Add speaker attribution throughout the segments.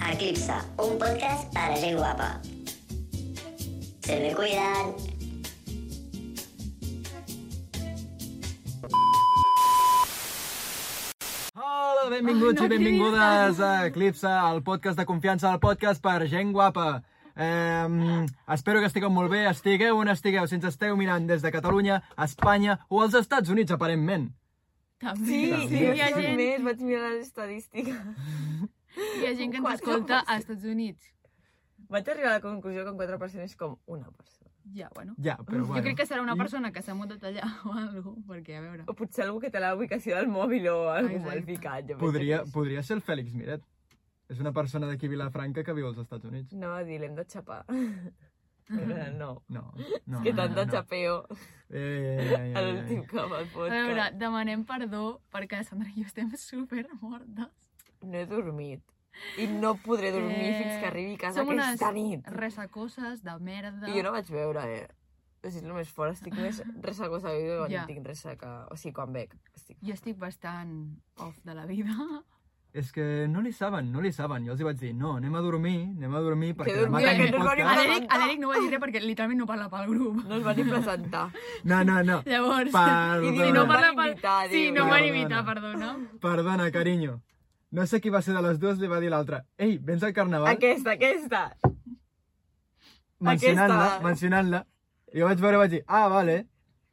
Speaker 1: a Clipsa, un podcast para gente guapa. Se me cuidan.
Speaker 2: Hola, benvinguts
Speaker 3: Ai, no,
Speaker 2: i
Speaker 3: que
Speaker 2: benvingudes a Eclipse, el podcast de confiança, el podcast per gent guapa. Eh, espero que estigueu molt bé, estigueu on estigueu, si ens esteu mirant des de Catalunya, Espanya o els Estats Units, aparentment.
Speaker 3: També.
Speaker 4: Sí,
Speaker 2: També.
Speaker 4: sí,
Speaker 3: hi, ha
Speaker 4: sí,
Speaker 3: gent,
Speaker 4: més, vaig mirar les estadístiques.
Speaker 3: hi ha gent que ens
Speaker 4: Quatre
Speaker 3: escolta a Estats Units.
Speaker 4: Vaig arribar a la conclusió que un 4% és com una persona.
Speaker 3: Ja, bueno.
Speaker 2: Ja, però bueno.
Speaker 3: Jo crec que serà una
Speaker 4: Mm.
Speaker 2: I-
Speaker 3: persona que s'ha mudat allà o alguna cosa, perquè a veure...
Speaker 4: O potser algú que té la ubicació del mòbil o algú
Speaker 3: Exacte.
Speaker 4: mal ficat. Jo
Speaker 2: Podria,
Speaker 4: penso que
Speaker 2: podria ser el Fèlix Miret. És una persona d'aquí a Vilafranca que viu als Estats Units.
Speaker 4: és. No, dir, l'hem de xapar. Però no.
Speaker 2: No, no.
Speaker 4: És que
Speaker 2: no,
Speaker 4: tant de
Speaker 2: no.
Speaker 4: xapeo
Speaker 2: Eh, eh, eh,
Speaker 4: a
Speaker 2: eh,
Speaker 4: l'últim
Speaker 2: eh.
Speaker 4: cop al
Speaker 3: A veure,
Speaker 4: podcast.
Speaker 3: demanem perdó perquè Sandra i jo estem super mortes.
Speaker 4: No he dormit. I no podré dormir
Speaker 3: Eh,
Speaker 4: fins que arribi a casa
Speaker 3: som unes
Speaker 4: aquesta nit.
Speaker 3: Resacoses de merda.
Speaker 4: I jo no vaig veure, eh? O sigui, és el més fort. Estic més ressacosa viva quan
Speaker 3: Ja.
Speaker 4: yeah. tinc ressaca. O sigui, quan bec. Estic...
Speaker 3: Jo estic bastant off de la vida.
Speaker 2: És que no li saben, no li saben. Jo els hi vaig dir, no, anem a dormir, anem a dormir perquè demà
Speaker 4: dormir,
Speaker 3: que
Speaker 2: tenim
Speaker 3: no
Speaker 4: dormim.
Speaker 2: podcast.
Speaker 3: A l'Eric a l'Eric no ho va dir res perquè literalment no parla pel grup.
Speaker 4: No es va ni presentar.
Speaker 2: No, no, no.
Speaker 3: Llavors...
Speaker 4: I
Speaker 2: Perdona,
Speaker 4: diu,
Speaker 3: Si no
Speaker 4: em van
Speaker 3: parla pel...
Speaker 4: invitar,
Speaker 3: Sí,
Speaker 4: diu.
Speaker 3: no em van
Speaker 2: Perdona.
Speaker 3: imitar, perdona.
Speaker 2: perdona, carinyo. No sé qui va ser de les dues, li va dir l'altra. Ei, vens al carnaval?
Speaker 4: Aquesta, aquesta.
Speaker 2: Mencionant-la,
Speaker 4: aquesta.
Speaker 2: mencionant-la. I jo vaig veure i vaig dir, ah, vale.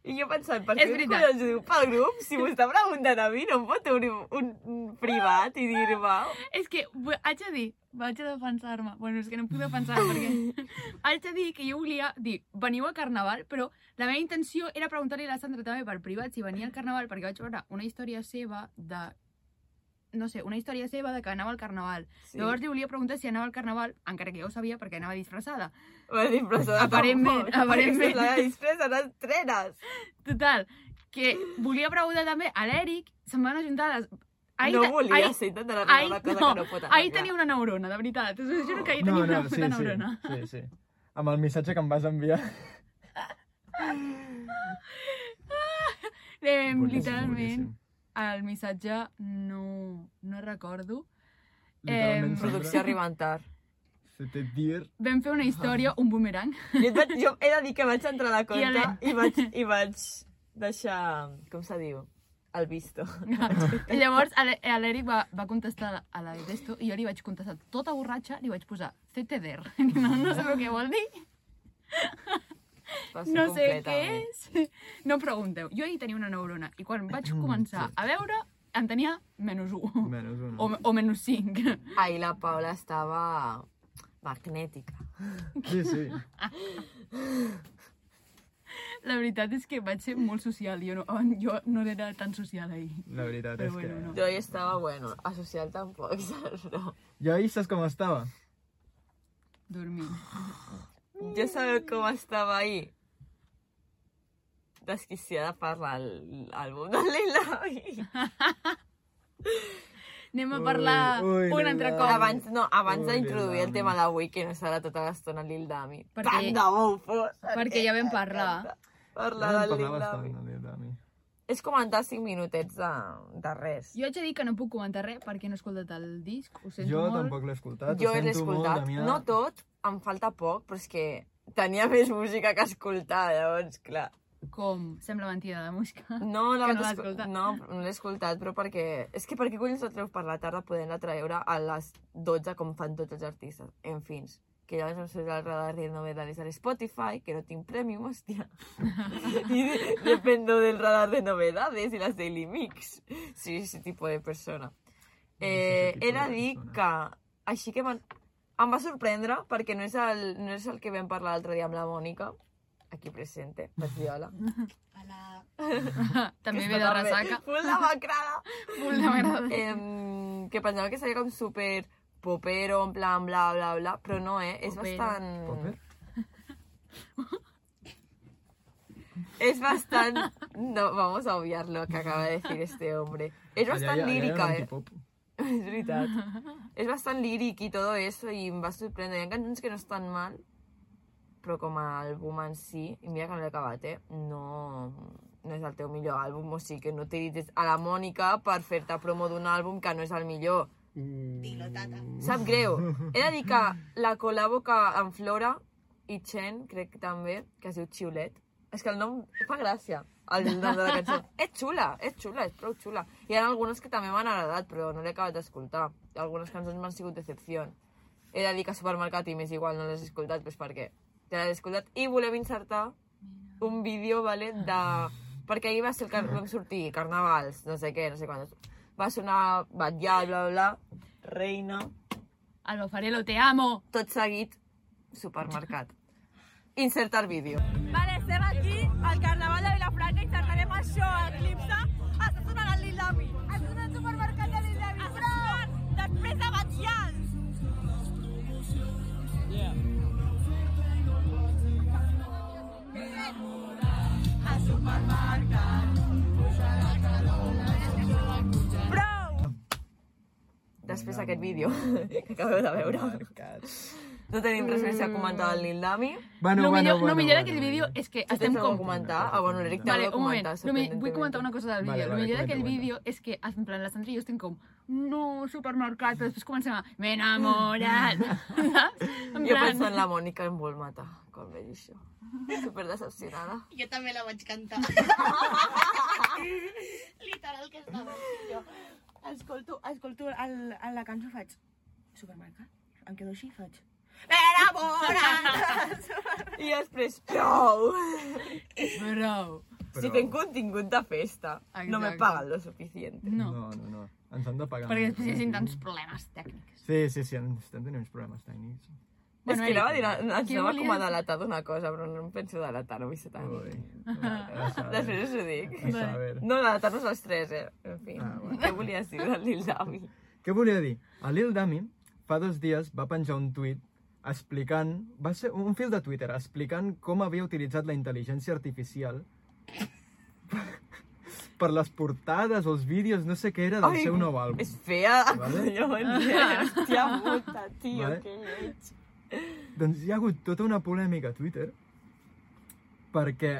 Speaker 4: I jo pensant, per
Speaker 3: És
Speaker 4: què
Speaker 3: veritat.
Speaker 4: collons ho diu pel grup? Si m'ho està preguntant a mi, no em pot obrir un, un privat i dir-me...
Speaker 3: És que bu- haig de dir, vaig a defensar-me. Bueno, és que no em puc defensar perquè... haig de dir que jo volia dir, veniu a Carnaval, però la meva intenció era preguntar-li a la Sandra també per privat si venia al Carnaval, perquè vaig veure una història seva de no sé, una història seva de que anava al carnaval. Sí.
Speaker 4: Sí.
Speaker 3: Llavors li volia preguntar si anava al carnaval, encara que jo ho sabia perquè anava disfressada.
Speaker 4: M'ha disfressat.
Speaker 3: Aparentment, aparentment.
Speaker 4: La disfressa, no estrenes.
Speaker 3: Total, que volia preguntar també a l'Eric, se'n van ajuntar les...
Speaker 4: Ahir, no
Speaker 3: te-
Speaker 4: volia
Speaker 3: ahir-
Speaker 4: ser intentant arreglar
Speaker 3: ahir,
Speaker 4: una cosa
Speaker 3: no,
Speaker 4: que no pot arreglar.
Speaker 3: ahir tenia una neurona, de veritat. Us juro que ahir
Speaker 2: no,
Speaker 3: tenia
Speaker 2: no,
Speaker 3: una
Speaker 2: sí,
Speaker 3: puta
Speaker 2: sí,
Speaker 3: neurona.
Speaker 2: sí, sí. Amb el missatge que em vas enviar.
Speaker 3: Eh,
Speaker 2: Boníssim,
Speaker 3: literalment, Em,
Speaker 2: boníssim.
Speaker 3: el missatge no, no recordo.
Speaker 2: Literalment,
Speaker 3: Em,
Speaker 2: Sandra,
Speaker 4: Producció arribant tard.
Speaker 2: Se te dir...
Speaker 3: Vam fer una història, un boomerang.
Speaker 4: Jo, et vaig, jo he de dir que vaig entrar a la compte
Speaker 3: el-
Speaker 4: i, vaig, i vaig deixar... Com se diu? El visto.
Speaker 3: I Llavors, a l'E- a l'Eric va, va contestar a la Detesto i jo li vaig contestar tota borratxa, li vaig posar CTDR. No, no sé el que vol dir,
Speaker 4: Va ser eh?
Speaker 3: no sé què
Speaker 4: completament.
Speaker 3: és. No em pregunteu. Jo ahir tenia una neurona i quan vaig començar
Speaker 2: Mm, Sí.
Speaker 3: a veure en tenia menys 1
Speaker 2: Menys una.
Speaker 3: o, o menys 5.
Speaker 4: Ahir la Paula estava magnètica.
Speaker 2: Sí, sí.
Speaker 3: La veritat és que vaig ser molt social. Jo no, oh, jo no era tan social ahir.
Speaker 2: La veritat
Speaker 3: Però
Speaker 2: és que...
Speaker 3: bueno, no.
Speaker 4: Jo ahir estava, bueno, a social tampoc, no.
Speaker 2: Jo ahir saps com estava? Em
Speaker 3: Dormint.
Speaker 4: Jo sabeu com estava ahir? Desquiciada per l'al- l'àlbum de Lila.
Speaker 3: Anem a
Speaker 2: Ui,
Speaker 3: parlar
Speaker 2: ui,
Speaker 3: un altre
Speaker 2: Lila.
Speaker 3: cop.
Speaker 4: Abans, no, abans
Speaker 2: Ui,
Speaker 4: d'introduir el
Speaker 2: Lil
Speaker 4: tema
Speaker 2: Dami.
Speaker 4: d'avui, que no serà tota l'estona Lil Dami.
Speaker 3: Perquè- Ah.
Speaker 4: Tant de bo ho fos,
Speaker 3: perquè ja vam parlar.
Speaker 4: m'encanta Parlar de
Speaker 2: Parlar
Speaker 4: Lil Dami.
Speaker 2: bastant, em de Lil Dami.
Speaker 4: És comentar 5 minutets de, de res.
Speaker 3: Jo haig de dir que no puc comentar res perquè no he escoltat el disc, ho sento
Speaker 2: Jo
Speaker 3: molt.
Speaker 2: tampoc l'he escoltat.
Speaker 4: Jo
Speaker 2: ho
Speaker 4: he
Speaker 2: sento
Speaker 4: escoltat,
Speaker 2: Molt, Damià.
Speaker 4: no tot, em falta poc, però és que tenia més música que escoltar, llavors, clar.
Speaker 3: Com? Sembla mentida la música.
Speaker 4: No, la
Speaker 3: Que no
Speaker 4: vaig
Speaker 3: l'has
Speaker 4: escol-
Speaker 3: escoltat.
Speaker 4: No, no l'he escoltat, però perquè... És que per què collons la treus per la tarda podent-la treure a les 12, com fan tots els artistes? En fins. Que llavors em surt al radar riendo me dales al Spotify, que no tinc premium, hòstia. y de- dependo del radar de novedades y las Daily Mix. Sí, ese tipo de persona. Eh,
Speaker 2: ese tipo
Speaker 4: he de
Speaker 2: de
Speaker 4: dir
Speaker 2: persona.
Speaker 4: que... Així que m'han- em va sorprendre, perquè no és, el, no és el que vam parlar l'altre dia amb la Mònica, aquí presente, vaig dir hola.
Speaker 3: També ve
Speaker 4: Que
Speaker 3: de
Speaker 4: estava bé.
Speaker 3: ressaca.
Speaker 4: Full de macrada.
Speaker 3: Molt de merda.
Speaker 4: Em, que pensava que seria com super popero, en plan bla bla bla, però no, eh? És
Speaker 3: Popero.
Speaker 4: bastant...
Speaker 2: Popper?
Speaker 4: Es bastante... No, vamos a obviar lo que acaba de decir este hombre. Es bastante
Speaker 2: Allà hi ha- allà hi ha
Speaker 4: lírica,
Speaker 2: un
Speaker 4: eh?
Speaker 2: antipop.
Speaker 4: Es verdad. Es bastante lírica y todo eso, y me va sorprender. Hi ha canciones que no están mal, pero como álbum en sí, y mira que no l'he acabat, eh? No, no és el teu millor àlbum, o sigui que no t'iritis a la Mònica per fer-te promo d'un àlbum que no és el millor.
Speaker 5: Dilo, tata.
Speaker 4: Sap greu. He de dir que la col·labo que amb Flora i Chen, crec que també, que es diu Xiulet, és que el nom fa gràcia, el nom de la cançó. És xula, és xula, és prou xula. Hi ha algunes que també m'han agradat, però no l'he acabat d'escoltar. Algunes cançons m'han sigut decepció. He de dir que Supermercat i més igual no les he escoltat, doncs perquè ja l'he escoltat. I volem insertar un vídeo, vale, de... Perquè ahir va ser el car... vam sortir, carnavals, no sé què, no sé quantos. Va sonar Batllà, bla, bla, bla, Reina,
Speaker 3: Alba Farelo, te amo.
Speaker 4: tot seguit, supermercat. Insertar vídeo.
Speaker 6: Vale, estem aquí al Carnaval de Vilafranca i cercarem això, Eclipse. Ah, Està sonant el Lil Dami. Està sonant el supermercat de Lil Dami. Està sonant després de Batllans. Yeah. Prou!
Speaker 4: Després d'aquest vídeo que acabeu de veure. No tenim res més a comentar del Lil Dami.
Speaker 2: Bueno,
Speaker 3: lo
Speaker 2: Ah, bueno,
Speaker 3: millor,
Speaker 2: bueno,
Speaker 3: lo millor
Speaker 2: bueno.
Speaker 3: d'aquell vídeo és que
Speaker 4: Estem
Speaker 3: estem
Speaker 4: com...
Speaker 3: com...
Speaker 4: comentar? Ah, bueno, l'Eric també
Speaker 3: Vale,
Speaker 4: vale,
Speaker 3: un moment.
Speaker 4: comentar.
Speaker 3: No, mi- vull comentar una cosa del vídeo.
Speaker 2: Vale,
Speaker 3: Vale,
Speaker 2: vale,
Speaker 3: lo millor
Speaker 2: comenta,
Speaker 3: d'aquell
Speaker 2: comenta.
Speaker 3: vídeo és que, en plan, la Sandra i jo estem com no, supermercat, però després comencem a m'he enamorat. en
Speaker 4: Jo penso en la Mònica em vol matar quan veig això. Super decepcionada.
Speaker 5: Jo també la vaig cantar. Literal que estava aquí jo.
Speaker 6: Escolto, escolto el, el, la cançó, faig supermercat. Em quedo així i faig... Enamorat!
Speaker 4: I després, prou!
Speaker 3: Bravo.
Speaker 2: Però-
Speaker 4: Si tenc contingut de festa,
Speaker 3: Exacte.
Speaker 4: no me paguen lo suficiente.
Speaker 3: No,
Speaker 2: No, no, no. Ens han de pagar.
Speaker 3: perquè
Speaker 2: més,
Speaker 3: després hi
Speaker 2: eh?
Speaker 3: hagin tants problemes tècnics.
Speaker 2: Sí, sí, sí, ens estem tenint uns problemes tècnics.
Speaker 4: És
Speaker 3: Bueno,
Speaker 4: que anava a
Speaker 3: Eric,
Speaker 4: dir, ens
Speaker 3: què
Speaker 4: anava com a
Speaker 3: volies?
Speaker 4: delatar d'una cosa, però no em penso delatar, no vull ser tan...
Speaker 2: Ui. a saber.
Speaker 4: Després us ho dic.
Speaker 2: A saber.
Speaker 4: No, delatar-nos els tres, eh? En fi,
Speaker 2: Ah, bueno.
Speaker 4: què volies dir del Lil Dami?
Speaker 2: Què volia dir? El Lil Dami fa dos dies va penjar un tuit explicant, va ser un fil de Twitter, explicant com havia utilitzat la intel·ligència artificial per les portades o els vídeos, no sé què era, del
Speaker 4: Ai,
Speaker 2: seu nou àlbum.
Speaker 4: És fea,
Speaker 2: Vale.
Speaker 4: vale. jo en
Speaker 3: Ah.
Speaker 4: diré, hòstia puta,
Speaker 2: Vale.
Speaker 4: tio, vale. que lleig.
Speaker 2: Doncs hi ha hagut tota una polèmica a Twitter perquè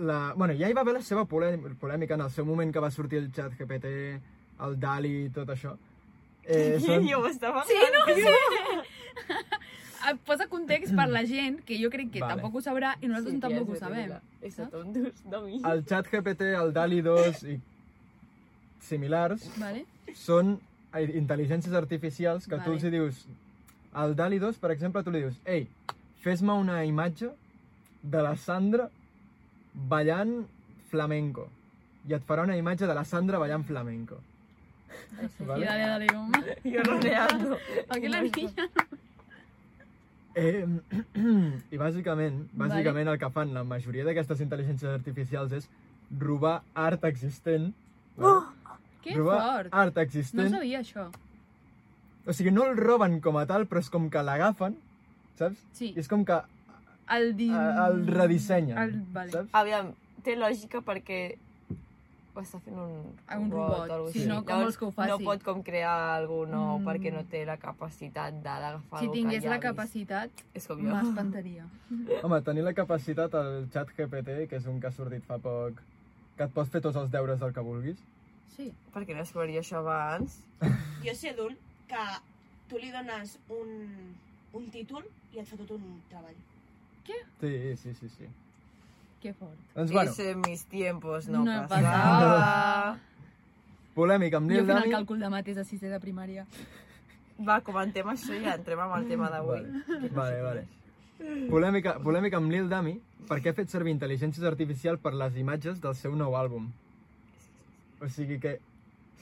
Speaker 2: la... bueno, ja hi va haver la seva polè- polèmica en el seu moment que va sortir el xat GPT, el DALI i tot això. Eh,
Speaker 4: Són... Jo ho estava...
Speaker 3: Sí, no ho sé. Eh, Posa context per la gent, que jo crec que
Speaker 2: Vale.
Speaker 3: tampoc ho sabrà i nosaltres
Speaker 4: Sí,
Speaker 3: sí, tampoc
Speaker 4: tia,
Speaker 3: ho
Speaker 4: és
Speaker 3: sabem.
Speaker 4: horrible. És a tontos, no mi.
Speaker 2: El xat GPT, el DALI 2 i similars
Speaker 3: Vale?
Speaker 2: són intel·ligències artificials que tu
Speaker 3: Vale.
Speaker 2: els hi dius... Al DALI 2, per exemple, tu li dius Ei, fes-me una imatge de la Sandra ballant flamenco. I et farà una imatge de la Sandra ballant flamenco.
Speaker 3: I dale, dale, home.
Speaker 4: Jo rodeando.
Speaker 3: Aquí la niña.
Speaker 2: Eh, I bàsicament, bàsicament el que fan la majoria d'aquestes intel·ligències artificials és robar art existent. Oh,
Speaker 3: Que
Speaker 2: robar
Speaker 3: fort.
Speaker 2: art
Speaker 3: No
Speaker 2: existent.
Speaker 3: sabia això.
Speaker 2: o sigui, no el roben com a tal, però és com que l'agafen, saps?
Speaker 3: Sí.
Speaker 2: I és com que
Speaker 3: El, di...
Speaker 2: eh, el redisenyen,
Speaker 3: El... Vale. Ah.
Speaker 2: saps?
Speaker 4: Aviam, té lògica perquè ho està fent un,
Speaker 3: Ah, un robot,
Speaker 4: o alguna
Speaker 3: sí,
Speaker 4: cosa
Speaker 3: no,
Speaker 4: així.
Speaker 3: com vols que ho faci?
Speaker 4: No pot com crear algú nou
Speaker 3: Mm.
Speaker 4: perquè no té la capacitat de- d'agafar
Speaker 3: Si
Speaker 4: algú que
Speaker 3: tingués
Speaker 4: ja
Speaker 3: la
Speaker 4: ha vist.
Speaker 3: capacitat,
Speaker 4: És com jo.
Speaker 3: m'espantaria.
Speaker 2: Home, tenir la capacitat al xat GPT, que és un que ha sortit fa poc, que et pots fer tots els deures del que vulguis.
Speaker 3: Sí.
Speaker 4: Perquè no es veuria això abans.
Speaker 5: Jo sé d'un que tu li dones un, un títol i et fa tot un treball.
Speaker 2: Sí, sí, sí, sí.
Speaker 3: Que fort.
Speaker 2: Doncs bueno,
Speaker 4: Bueno, Ese mis tiempos no,
Speaker 3: No
Speaker 4: passava.
Speaker 2: polèmica amb
Speaker 3: Jo
Speaker 2: Lil
Speaker 3: fent el
Speaker 2: Dami.
Speaker 3: càlcul de mates de sisè de primària.
Speaker 4: Va, comentem això i ja entrem amb el tema d'avui.
Speaker 2: Vale, vale. vale. Polèmica, polèmica amb Lil Dami perquè ha fet servir intel·ligències artificial per les imatges del seu nou àlbum. O sigui que...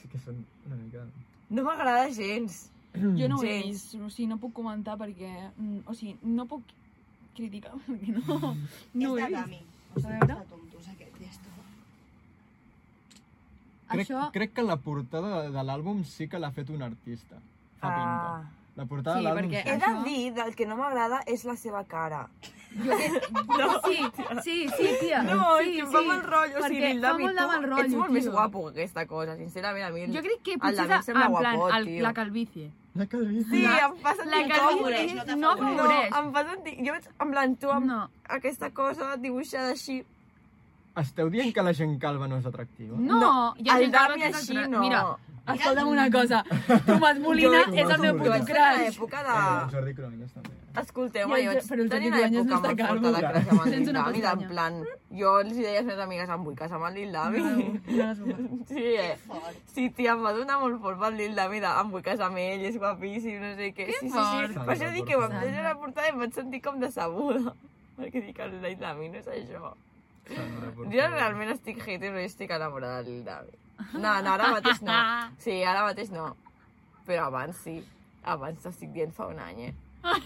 Speaker 2: Sí que són una mica...
Speaker 4: No m'agrada gens.
Speaker 2: Mm.
Speaker 3: Jo no ho he
Speaker 4: Gens.
Speaker 3: vist, o sigui, no puc comentar perquè... mm, O sigui, no puc criticar perquè no, no ho
Speaker 5: és
Speaker 3: he
Speaker 5: de
Speaker 3: vist.
Speaker 5: Dami. O sigui, és
Speaker 3: veure.
Speaker 5: de tontos aquest, ja està.
Speaker 2: Crec,
Speaker 3: Això...
Speaker 2: crec que la portada de, de l'àlbum sí que l'ha fet un artista. Fa ah. pinta. La portada
Speaker 3: Sí,
Speaker 2: de l'àlbum...
Speaker 3: perquè-
Speaker 4: He de
Speaker 3: Això-
Speaker 4: dir, del que no m'agrada és la seva cara.
Speaker 3: Jo crec... no. Sí, sí, sí, tia.
Speaker 4: No,
Speaker 3: sí,
Speaker 4: sí, que em fa
Speaker 3: sí,
Speaker 4: mal rotllo. O sigui,
Speaker 3: Perquè
Speaker 4: el
Speaker 3: fa
Speaker 4: David,
Speaker 3: molt de
Speaker 4: tu
Speaker 3: mal rotllo,
Speaker 4: Ets molt
Speaker 3: tio.
Speaker 4: més guapo que aquesta cosa, sincerament, a mi...
Speaker 3: Jo crec que
Speaker 4: El
Speaker 3: potser és
Speaker 4: David
Speaker 3: en
Speaker 4: sembla
Speaker 3: plan
Speaker 4: guapot,
Speaker 3: el,
Speaker 4: tio.
Speaker 3: la calvície.
Speaker 2: La calvície.
Speaker 4: Sí,
Speaker 3: La-
Speaker 4: em passa
Speaker 3: La
Speaker 4: sentir
Speaker 5: t'afavoreix,
Speaker 3: calvície
Speaker 5: no
Speaker 3: no
Speaker 5: t'afavoreix.
Speaker 4: No,
Speaker 3: afavoreix.
Speaker 4: em fa sentir... Jo veig en plan tu amb
Speaker 3: No,
Speaker 4: aquesta cosa dibuixada així.
Speaker 2: Esteu dient que la gent calva no és atractiva?
Speaker 3: no,
Speaker 4: No,
Speaker 3: hi ha
Speaker 4: el
Speaker 3: gent que
Speaker 4: Dami
Speaker 3: va
Speaker 4: així
Speaker 3: contra-
Speaker 4: no.
Speaker 3: Mira, Escolta'm una cosa. Tomàs Molina
Speaker 2: Jo-
Speaker 3: és el
Speaker 2: Tomàs
Speaker 3: meu
Speaker 4: Jo
Speaker 3: puto
Speaker 2: Molina.
Speaker 4: vaig fer a
Speaker 3: crash.
Speaker 4: l'època de...
Speaker 2: Ah. Jordi Cròniques també.
Speaker 3: I
Speaker 4: Escolteu,
Speaker 3: el
Speaker 4: jo vaig
Speaker 3: Jo- però el
Speaker 4: tenir
Speaker 3: Jordi
Speaker 4: una
Speaker 3: Duanyes no
Speaker 4: època
Speaker 3: està
Speaker 4: molt
Speaker 3: calmo.
Speaker 4: forta de crash amb el
Speaker 3: eh? Tens
Speaker 4: Lil
Speaker 3: una
Speaker 4: Dami, en
Speaker 3: pestanya.
Speaker 4: plan, jo els hi deia a les meves amigues, em vull casar amb el Lil Dami.
Speaker 3: No, no, no.
Speaker 4: Sí, eh? Sí, tia, em va donar molt fort pel Lil Dami, de, em vull casar amb ell, és guapíssim, no sé què. Sí, sí, sí,
Speaker 3: fort.
Speaker 4: per això dic que vam
Speaker 3: Sandra.
Speaker 4: llegir la portada i em vaig sentir com decebuda. Perquè dic, el Lil Dami no és això.
Speaker 2: Sandra, por
Speaker 4: Jo
Speaker 2: favor.
Speaker 4: realment estic hater, però jo estic enamorada del Lil Dami. No, no, ara mateix no. Sí, ara mateix no. Però abans sí. Abans t'estic dient fa un any, eh?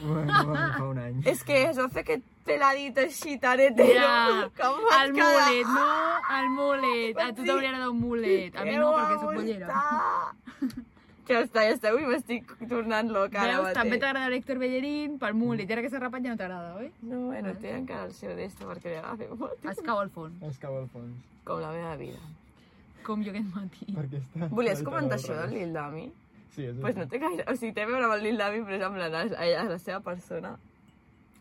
Speaker 2: Bueno, bueno, fa un any.
Speaker 4: És que es va fer aquest peladito així tan hetero.
Speaker 3: Ja,
Speaker 4: que em vaig
Speaker 3: El
Speaker 4: quedar,
Speaker 3: mulet, no, el mulet. A tu
Speaker 4: Sí.
Speaker 3: t'hauria d'agradar un mulet. A mi
Speaker 4: "Què
Speaker 3: no,
Speaker 4: guapo
Speaker 3: perquè sóc pollera.
Speaker 4: està!" Ja està, ja està. Avui m'estic tornant loca ara
Speaker 3: Veus,
Speaker 4: mateix.
Speaker 3: també t'agrada l'Hector Bellerín pel mulet. I ara que s'ha rapat ja no t'agrada, oi?
Speaker 4: No, bueno, té encara el seu d'esto perquè li agafi molt.
Speaker 3: Es cau al fons,
Speaker 2: Es cau al fons.
Speaker 4: Com la meva vida.
Speaker 3: com jo aquest matí.
Speaker 2: Perquè està...
Speaker 4: Volies comentar
Speaker 2: està
Speaker 4: això del Lil Dami?
Speaker 2: Sí, és
Speaker 4: Doncs pues no té gaire... O sigui, té a veure amb el Lil Dami, però és amb la, la, la seva persona.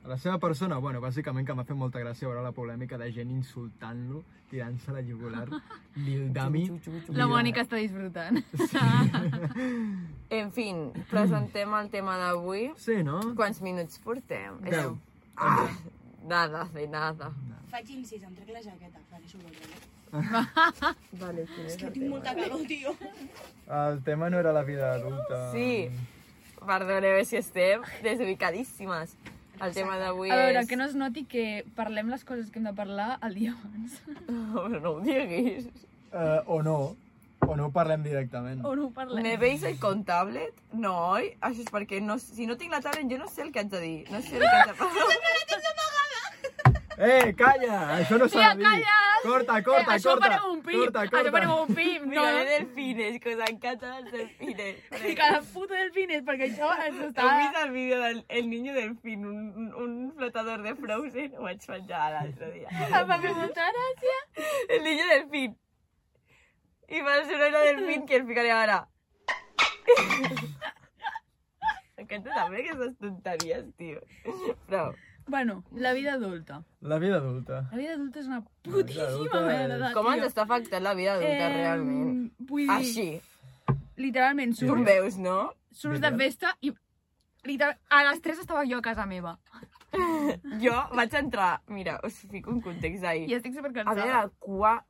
Speaker 2: A la seva persona, bueno, bàsicament que m'ha fet molta gràcia veure la polèmica de gent insultant-lo, tirant-se la jugular, Lil Dami...
Speaker 3: La Mònica està disfrutant.
Speaker 4: En fi, presentem el tema d'avui.
Speaker 2: Sí, no?
Speaker 4: Quants minuts portem? És-
Speaker 2: Deu.
Speaker 4: Ah, nada, de nada.
Speaker 5: Faig incís, em trec la jaqueta, perquè s'ho veureu.
Speaker 4: Vale, quin és
Speaker 5: Que
Speaker 4: el
Speaker 5: eh? tinc
Speaker 4: tema?
Speaker 5: molta calor, tio.
Speaker 2: El tema no era la vida adulta.
Speaker 4: Sí, perdoneu eh, si estem desubicadíssimes. El tema d'avui és...
Speaker 3: A veure, que no es noti que parlem les coses que hem de parlar el dia abans.
Speaker 4: Però no ho diguis.
Speaker 2: Eh, o no. O no parlem directament.
Speaker 3: O no ho parlem.
Speaker 4: ¿Me veis el con tablet? No, oi? Això és perquè no, si no tinc la tablet jo no sé el que haig de dir. No sé el que haig de parlar.
Speaker 2: Eh, calla! Això no s'ha
Speaker 3: Tia,
Speaker 2: de dir.
Speaker 3: calla! Eh,
Speaker 2: Corta, corta,
Speaker 3: Això
Speaker 2: corta.
Speaker 3: farem un pim.
Speaker 2: Corta, corta.
Speaker 3: Això farem un pim. No,
Speaker 4: Miraré delfines, que us encanten els delfines.
Speaker 3: I cada puto delfines, perquè això ens ho
Speaker 4: Heu vist
Speaker 3: està...
Speaker 4: el vídeo del el niño delfín, un, un- un flotador de Frozen? Ho vaig penjar l'altre dia.
Speaker 3: Em va fer molta gràcia.
Speaker 4: El niño delfín. I va ser una delfín que el ficaré ara. M'encanta també aquestes tonteries, tio. Però...
Speaker 3: Bueno, la vida adulta.
Speaker 2: La vida adulta.
Speaker 3: La vida adulta és una
Speaker 2: La vida
Speaker 3: putíssima
Speaker 2: adulta és-
Speaker 3: merda,
Speaker 4: Com ens
Speaker 3: Ah, tio.
Speaker 4: està afectant la vida adulta,
Speaker 3: Em,
Speaker 4: realment?
Speaker 3: Vull dir,
Speaker 4: Així.
Speaker 3: literalment,
Speaker 4: Tu em
Speaker 3: surts,
Speaker 4: veus, no?
Speaker 3: surts de festa i... Literal, a les 3 estava jo a casa meva.
Speaker 4: Jo vaig entrar... Mira, us fico un context
Speaker 3: I
Speaker 4: ahir.
Speaker 3: estic
Speaker 4: A veure la
Speaker 3: supercansada.
Speaker 4: cua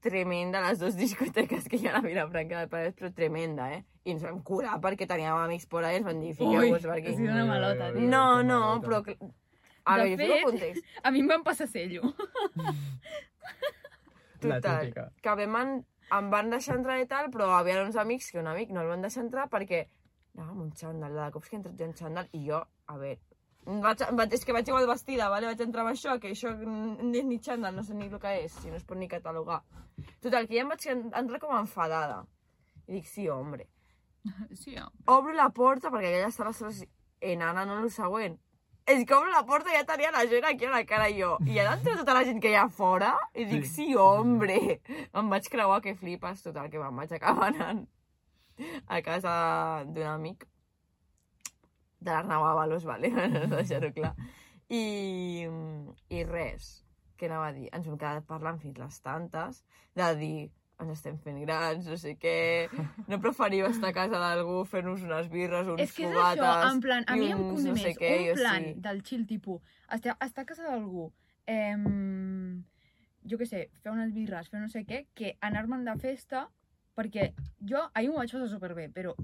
Speaker 4: tremenda a les dues discoteques que hi ha a la Vilafranca del Penedès, però tremenda, eh? I ens vam curar perquè teníem amics por allà i ens van dir,
Speaker 3: Ui,
Speaker 4: fiqueu-vos perquè...
Speaker 3: és una
Speaker 2: Eh,
Speaker 3: malota, tio.
Speaker 4: No, no, però... cl- A
Speaker 3: De
Speaker 4: veure, jo fico
Speaker 3: fet-
Speaker 4: un context.
Speaker 3: A mi em van passar cello.
Speaker 2: La
Speaker 4: Total,
Speaker 2: típica.
Speaker 4: que vam en, em van deixar entrar i tal, però hi havia uns amics que un amic no el van deixar entrar perquè anava amb un xandall, de cops que he entrat jo en xandall i jo, a veure, em vaig, em vaig, és que vaig igual vestida, vale? vaig entrar amb això, que això no és ni xandall, no sé ni el que és, si no es pot ni catalogar. Total, que ja em vaig en- entrar com enfadada. I dic, sí, hombre.
Speaker 3: Sí,
Speaker 4: Obro la porta, perquè aquella sala sols enana no el següent. És que obro la porta i ja tenia la gent aquí a la cara i jo. I ja d'entre tota la gent que hi ha fora, i dic, sí, hombre. Em vaig creuar que flipes, total, que me'n vaig acabar anant a casa d'un amic de l'Arnau Avalos, vale? Per deixar-ho clar. I, I res, què anava a dir? Ens hem quedat parlant fins les tantes, de dir, ens estem fent grans, no sé què, no preferiu estar a casa d'algú fent-nos unes birres, uns
Speaker 3: És que és
Speaker 4: fogates...
Speaker 3: això, en plan, a
Speaker 4: i
Speaker 3: mi em
Speaker 4: uns
Speaker 3: convé
Speaker 4: no sé
Speaker 3: més
Speaker 4: què, jo
Speaker 3: un plan
Speaker 4: sí.
Speaker 3: del chill, tipus, estar, estar a casa d'algú, ehm, jo què sé, fer unes birres, fer no sé què, que anar-me'n de festa, perquè jo ahir m'ho vaig passar superbé, però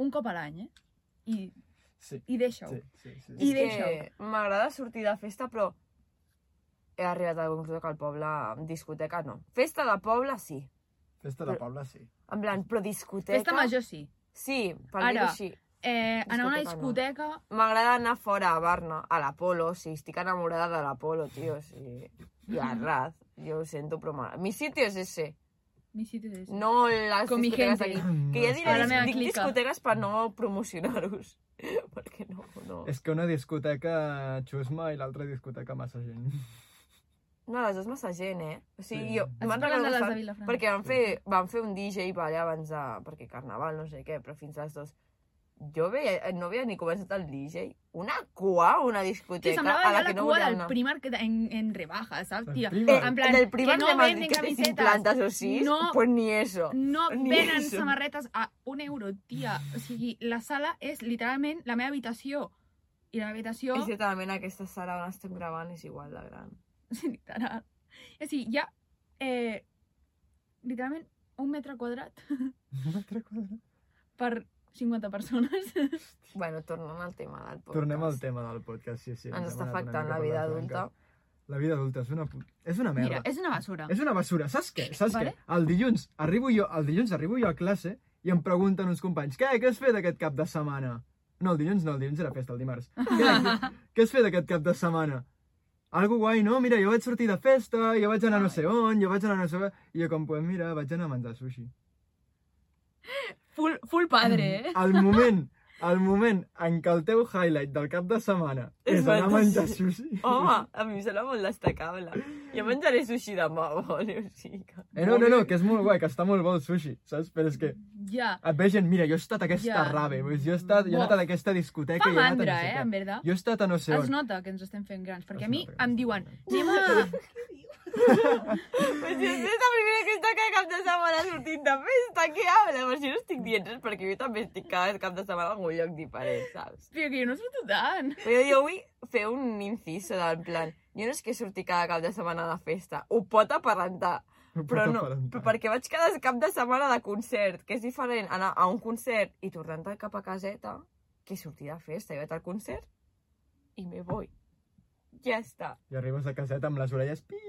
Speaker 3: un cop a l'any, eh? I,
Speaker 2: Sí,
Speaker 3: i deixa-ho.
Speaker 2: sí, sí. sí, sí.
Speaker 3: I
Speaker 4: És que
Speaker 3: deixa-ho.
Speaker 4: M'agrada sortir de festa, però he arribat a la conclusió que al poble, discoteca no. Festa de poble, sí.
Speaker 2: Festa de Paula, sí.
Speaker 4: En plan, però discoteca...
Speaker 3: Festa major sí.
Speaker 4: Sí, per
Speaker 3: Ara.
Speaker 4: dir-ho així.
Speaker 3: Eh, anar a una
Speaker 4: Discoteca
Speaker 3: discoteca...
Speaker 4: M'agrada anar fora a Barna, a l'Apolo, sí, estic enamorada de l'Apolo, tio, sí. I a
Speaker 3: Mm.
Speaker 4: Raz, jo ho sento, però m'agrada. Mi sitio és ese,
Speaker 3: Mi sitio és... No.
Speaker 4: no les
Speaker 3: Con mi
Speaker 4: discoteques
Speaker 3: gente. Mm.
Speaker 4: d'aquí. Que ja
Speaker 3: A
Speaker 4: diré,
Speaker 3: la meva
Speaker 4: dic
Speaker 3: clica.
Speaker 4: discoteques per no promocionar-vos. Perquè no, no.
Speaker 2: És que una discoteca xusma i l'altra discoteca massa gent.
Speaker 4: No, les dues massa gent, eh? O sigui,
Speaker 2: Sí.
Speaker 4: jo...
Speaker 3: Estàs
Speaker 4: me'n
Speaker 3: parlant de
Speaker 4: recordo
Speaker 3: les de
Speaker 4: bastant-
Speaker 3: Vilafranca.
Speaker 4: Perquè van fer, van fer un DJ per allà abans de... Perquè carnaval, no sé què, però fins a les dues. jo veia, no havia ni començat el DJ. Una cua, a una
Speaker 3: Que
Speaker 4: discoteca
Speaker 3: semblava
Speaker 4: a
Speaker 3: allà
Speaker 4: la
Speaker 3: la
Speaker 4: que no
Speaker 3: cua
Speaker 4: volia
Speaker 3: del
Speaker 4: anar.
Speaker 3: Primark en, en rebaja, ¿sabes,
Speaker 2: Del
Speaker 3: tía?
Speaker 4: Eh,
Speaker 2: Primark.
Speaker 3: En plan,
Speaker 4: del primer
Speaker 3: que no
Speaker 4: de Madrid
Speaker 3: venden
Speaker 4: que té cinc
Speaker 3: camisetas.
Speaker 4: plantes o sis,
Speaker 3: No.
Speaker 4: pues ni eso.
Speaker 3: No
Speaker 4: Ni
Speaker 3: venen
Speaker 4: eso.
Speaker 3: samarretes a un euro, tia. O sigui, la sala és literalment la meva habitació. I la meva habitació...
Speaker 4: És que també en aquesta sala on estem gravant és igual de gran.
Speaker 3: Literal. És a dir, hi ha... Eh, literalment un metre quadrat
Speaker 2: Un altre quadrat.
Speaker 3: per 50 persones.
Speaker 4: Bueno, tornant al tema del podcast.
Speaker 2: Tornem al tema del podcast, sí, sí.
Speaker 4: Ens
Speaker 2: hem
Speaker 4: està
Speaker 2: anat una
Speaker 4: afectant
Speaker 2: mica
Speaker 4: la
Speaker 2: per
Speaker 4: vida
Speaker 2: branca.
Speaker 4: adulta.
Speaker 2: La vida adulta és una, pu- és una merda.
Speaker 3: Mira, és una basura.
Speaker 2: És una basura, saps què? Saps
Speaker 3: Vale.
Speaker 2: què? El dilluns, arribo jo, el dilluns arribo jo a classe i em pregunten uns companys, què, què has fet aquest cap de setmana? No, el dilluns no, el dilluns era festa, el dimarts. Què, què, què has fet aquest cap de setmana? Algo guai, no? Mira, jo vaig sortir de festa, jo vaig anar no sé on, jo vaig anar no sé on... I jo com, pues mira, vaig anar a menjar sushi.
Speaker 3: Full, full padre, eh?
Speaker 2: El moment, el moment en què el teu highlight del cap de setmana és,
Speaker 4: És
Speaker 2: anar a menjar
Speaker 4: menjar sushi.
Speaker 2: sushi... Oh,
Speaker 4: Home, Ah, a mi em sembla molt destacable. Jo menjaré sushi demà, vale, o sigui que...
Speaker 2: Eh, no, no, no, que és molt guai, que està molt bo el sushi, saps? Però és que
Speaker 3: Ja.
Speaker 2: et veus gent, Ah, mira, jo he estat a aquesta
Speaker 3: Ja.
Speaker 2: yeah. rave, doncs jo he, estat, jo he anat a aquesta discoteca... i
Speaker 3: Fa
Speaker 2: he anat a
Speaker 3: mandra,
Speaker 2: no sé
Speaker 3: eh,
Speaker 2: què.
Speaker 3: en verdad.
Speaker 2: Jo he estat a no sé
Speaker 3: Es
Speaker 2: on.
Speaker 3: nota que ens estem fent grans, perquè
Speaker 2: Es
Speaker 3: a mi
Speaker 2: nota que
Speaker 3: em
Speaker 2: ens
Speaker 3: diuen
Speaker 2: estem
Speaker 3: anem a...
Speaker 4: Però si és la primera que està cada cap de setmana sortint de festa, què habla? Però si no estic dient res, perquè jo també estic cada cap de setmana a algun lloc diferent, saps?
Speaker 3: Tio, que jo no surto tant.
Speaker 4: Però jo vull fer un inciso del plan, jo no és que surti cada cap de setmana de festa, ho pot aparentar, però no, però perquè vaig cada cap de setmana de concert, que és diferent anar a un concert i tornant cap a caseta que sortir de festa. Jo vaig al concert i me voy. Ja està.
Speaker 2: I arribes a caseta amb les orelles... Pi...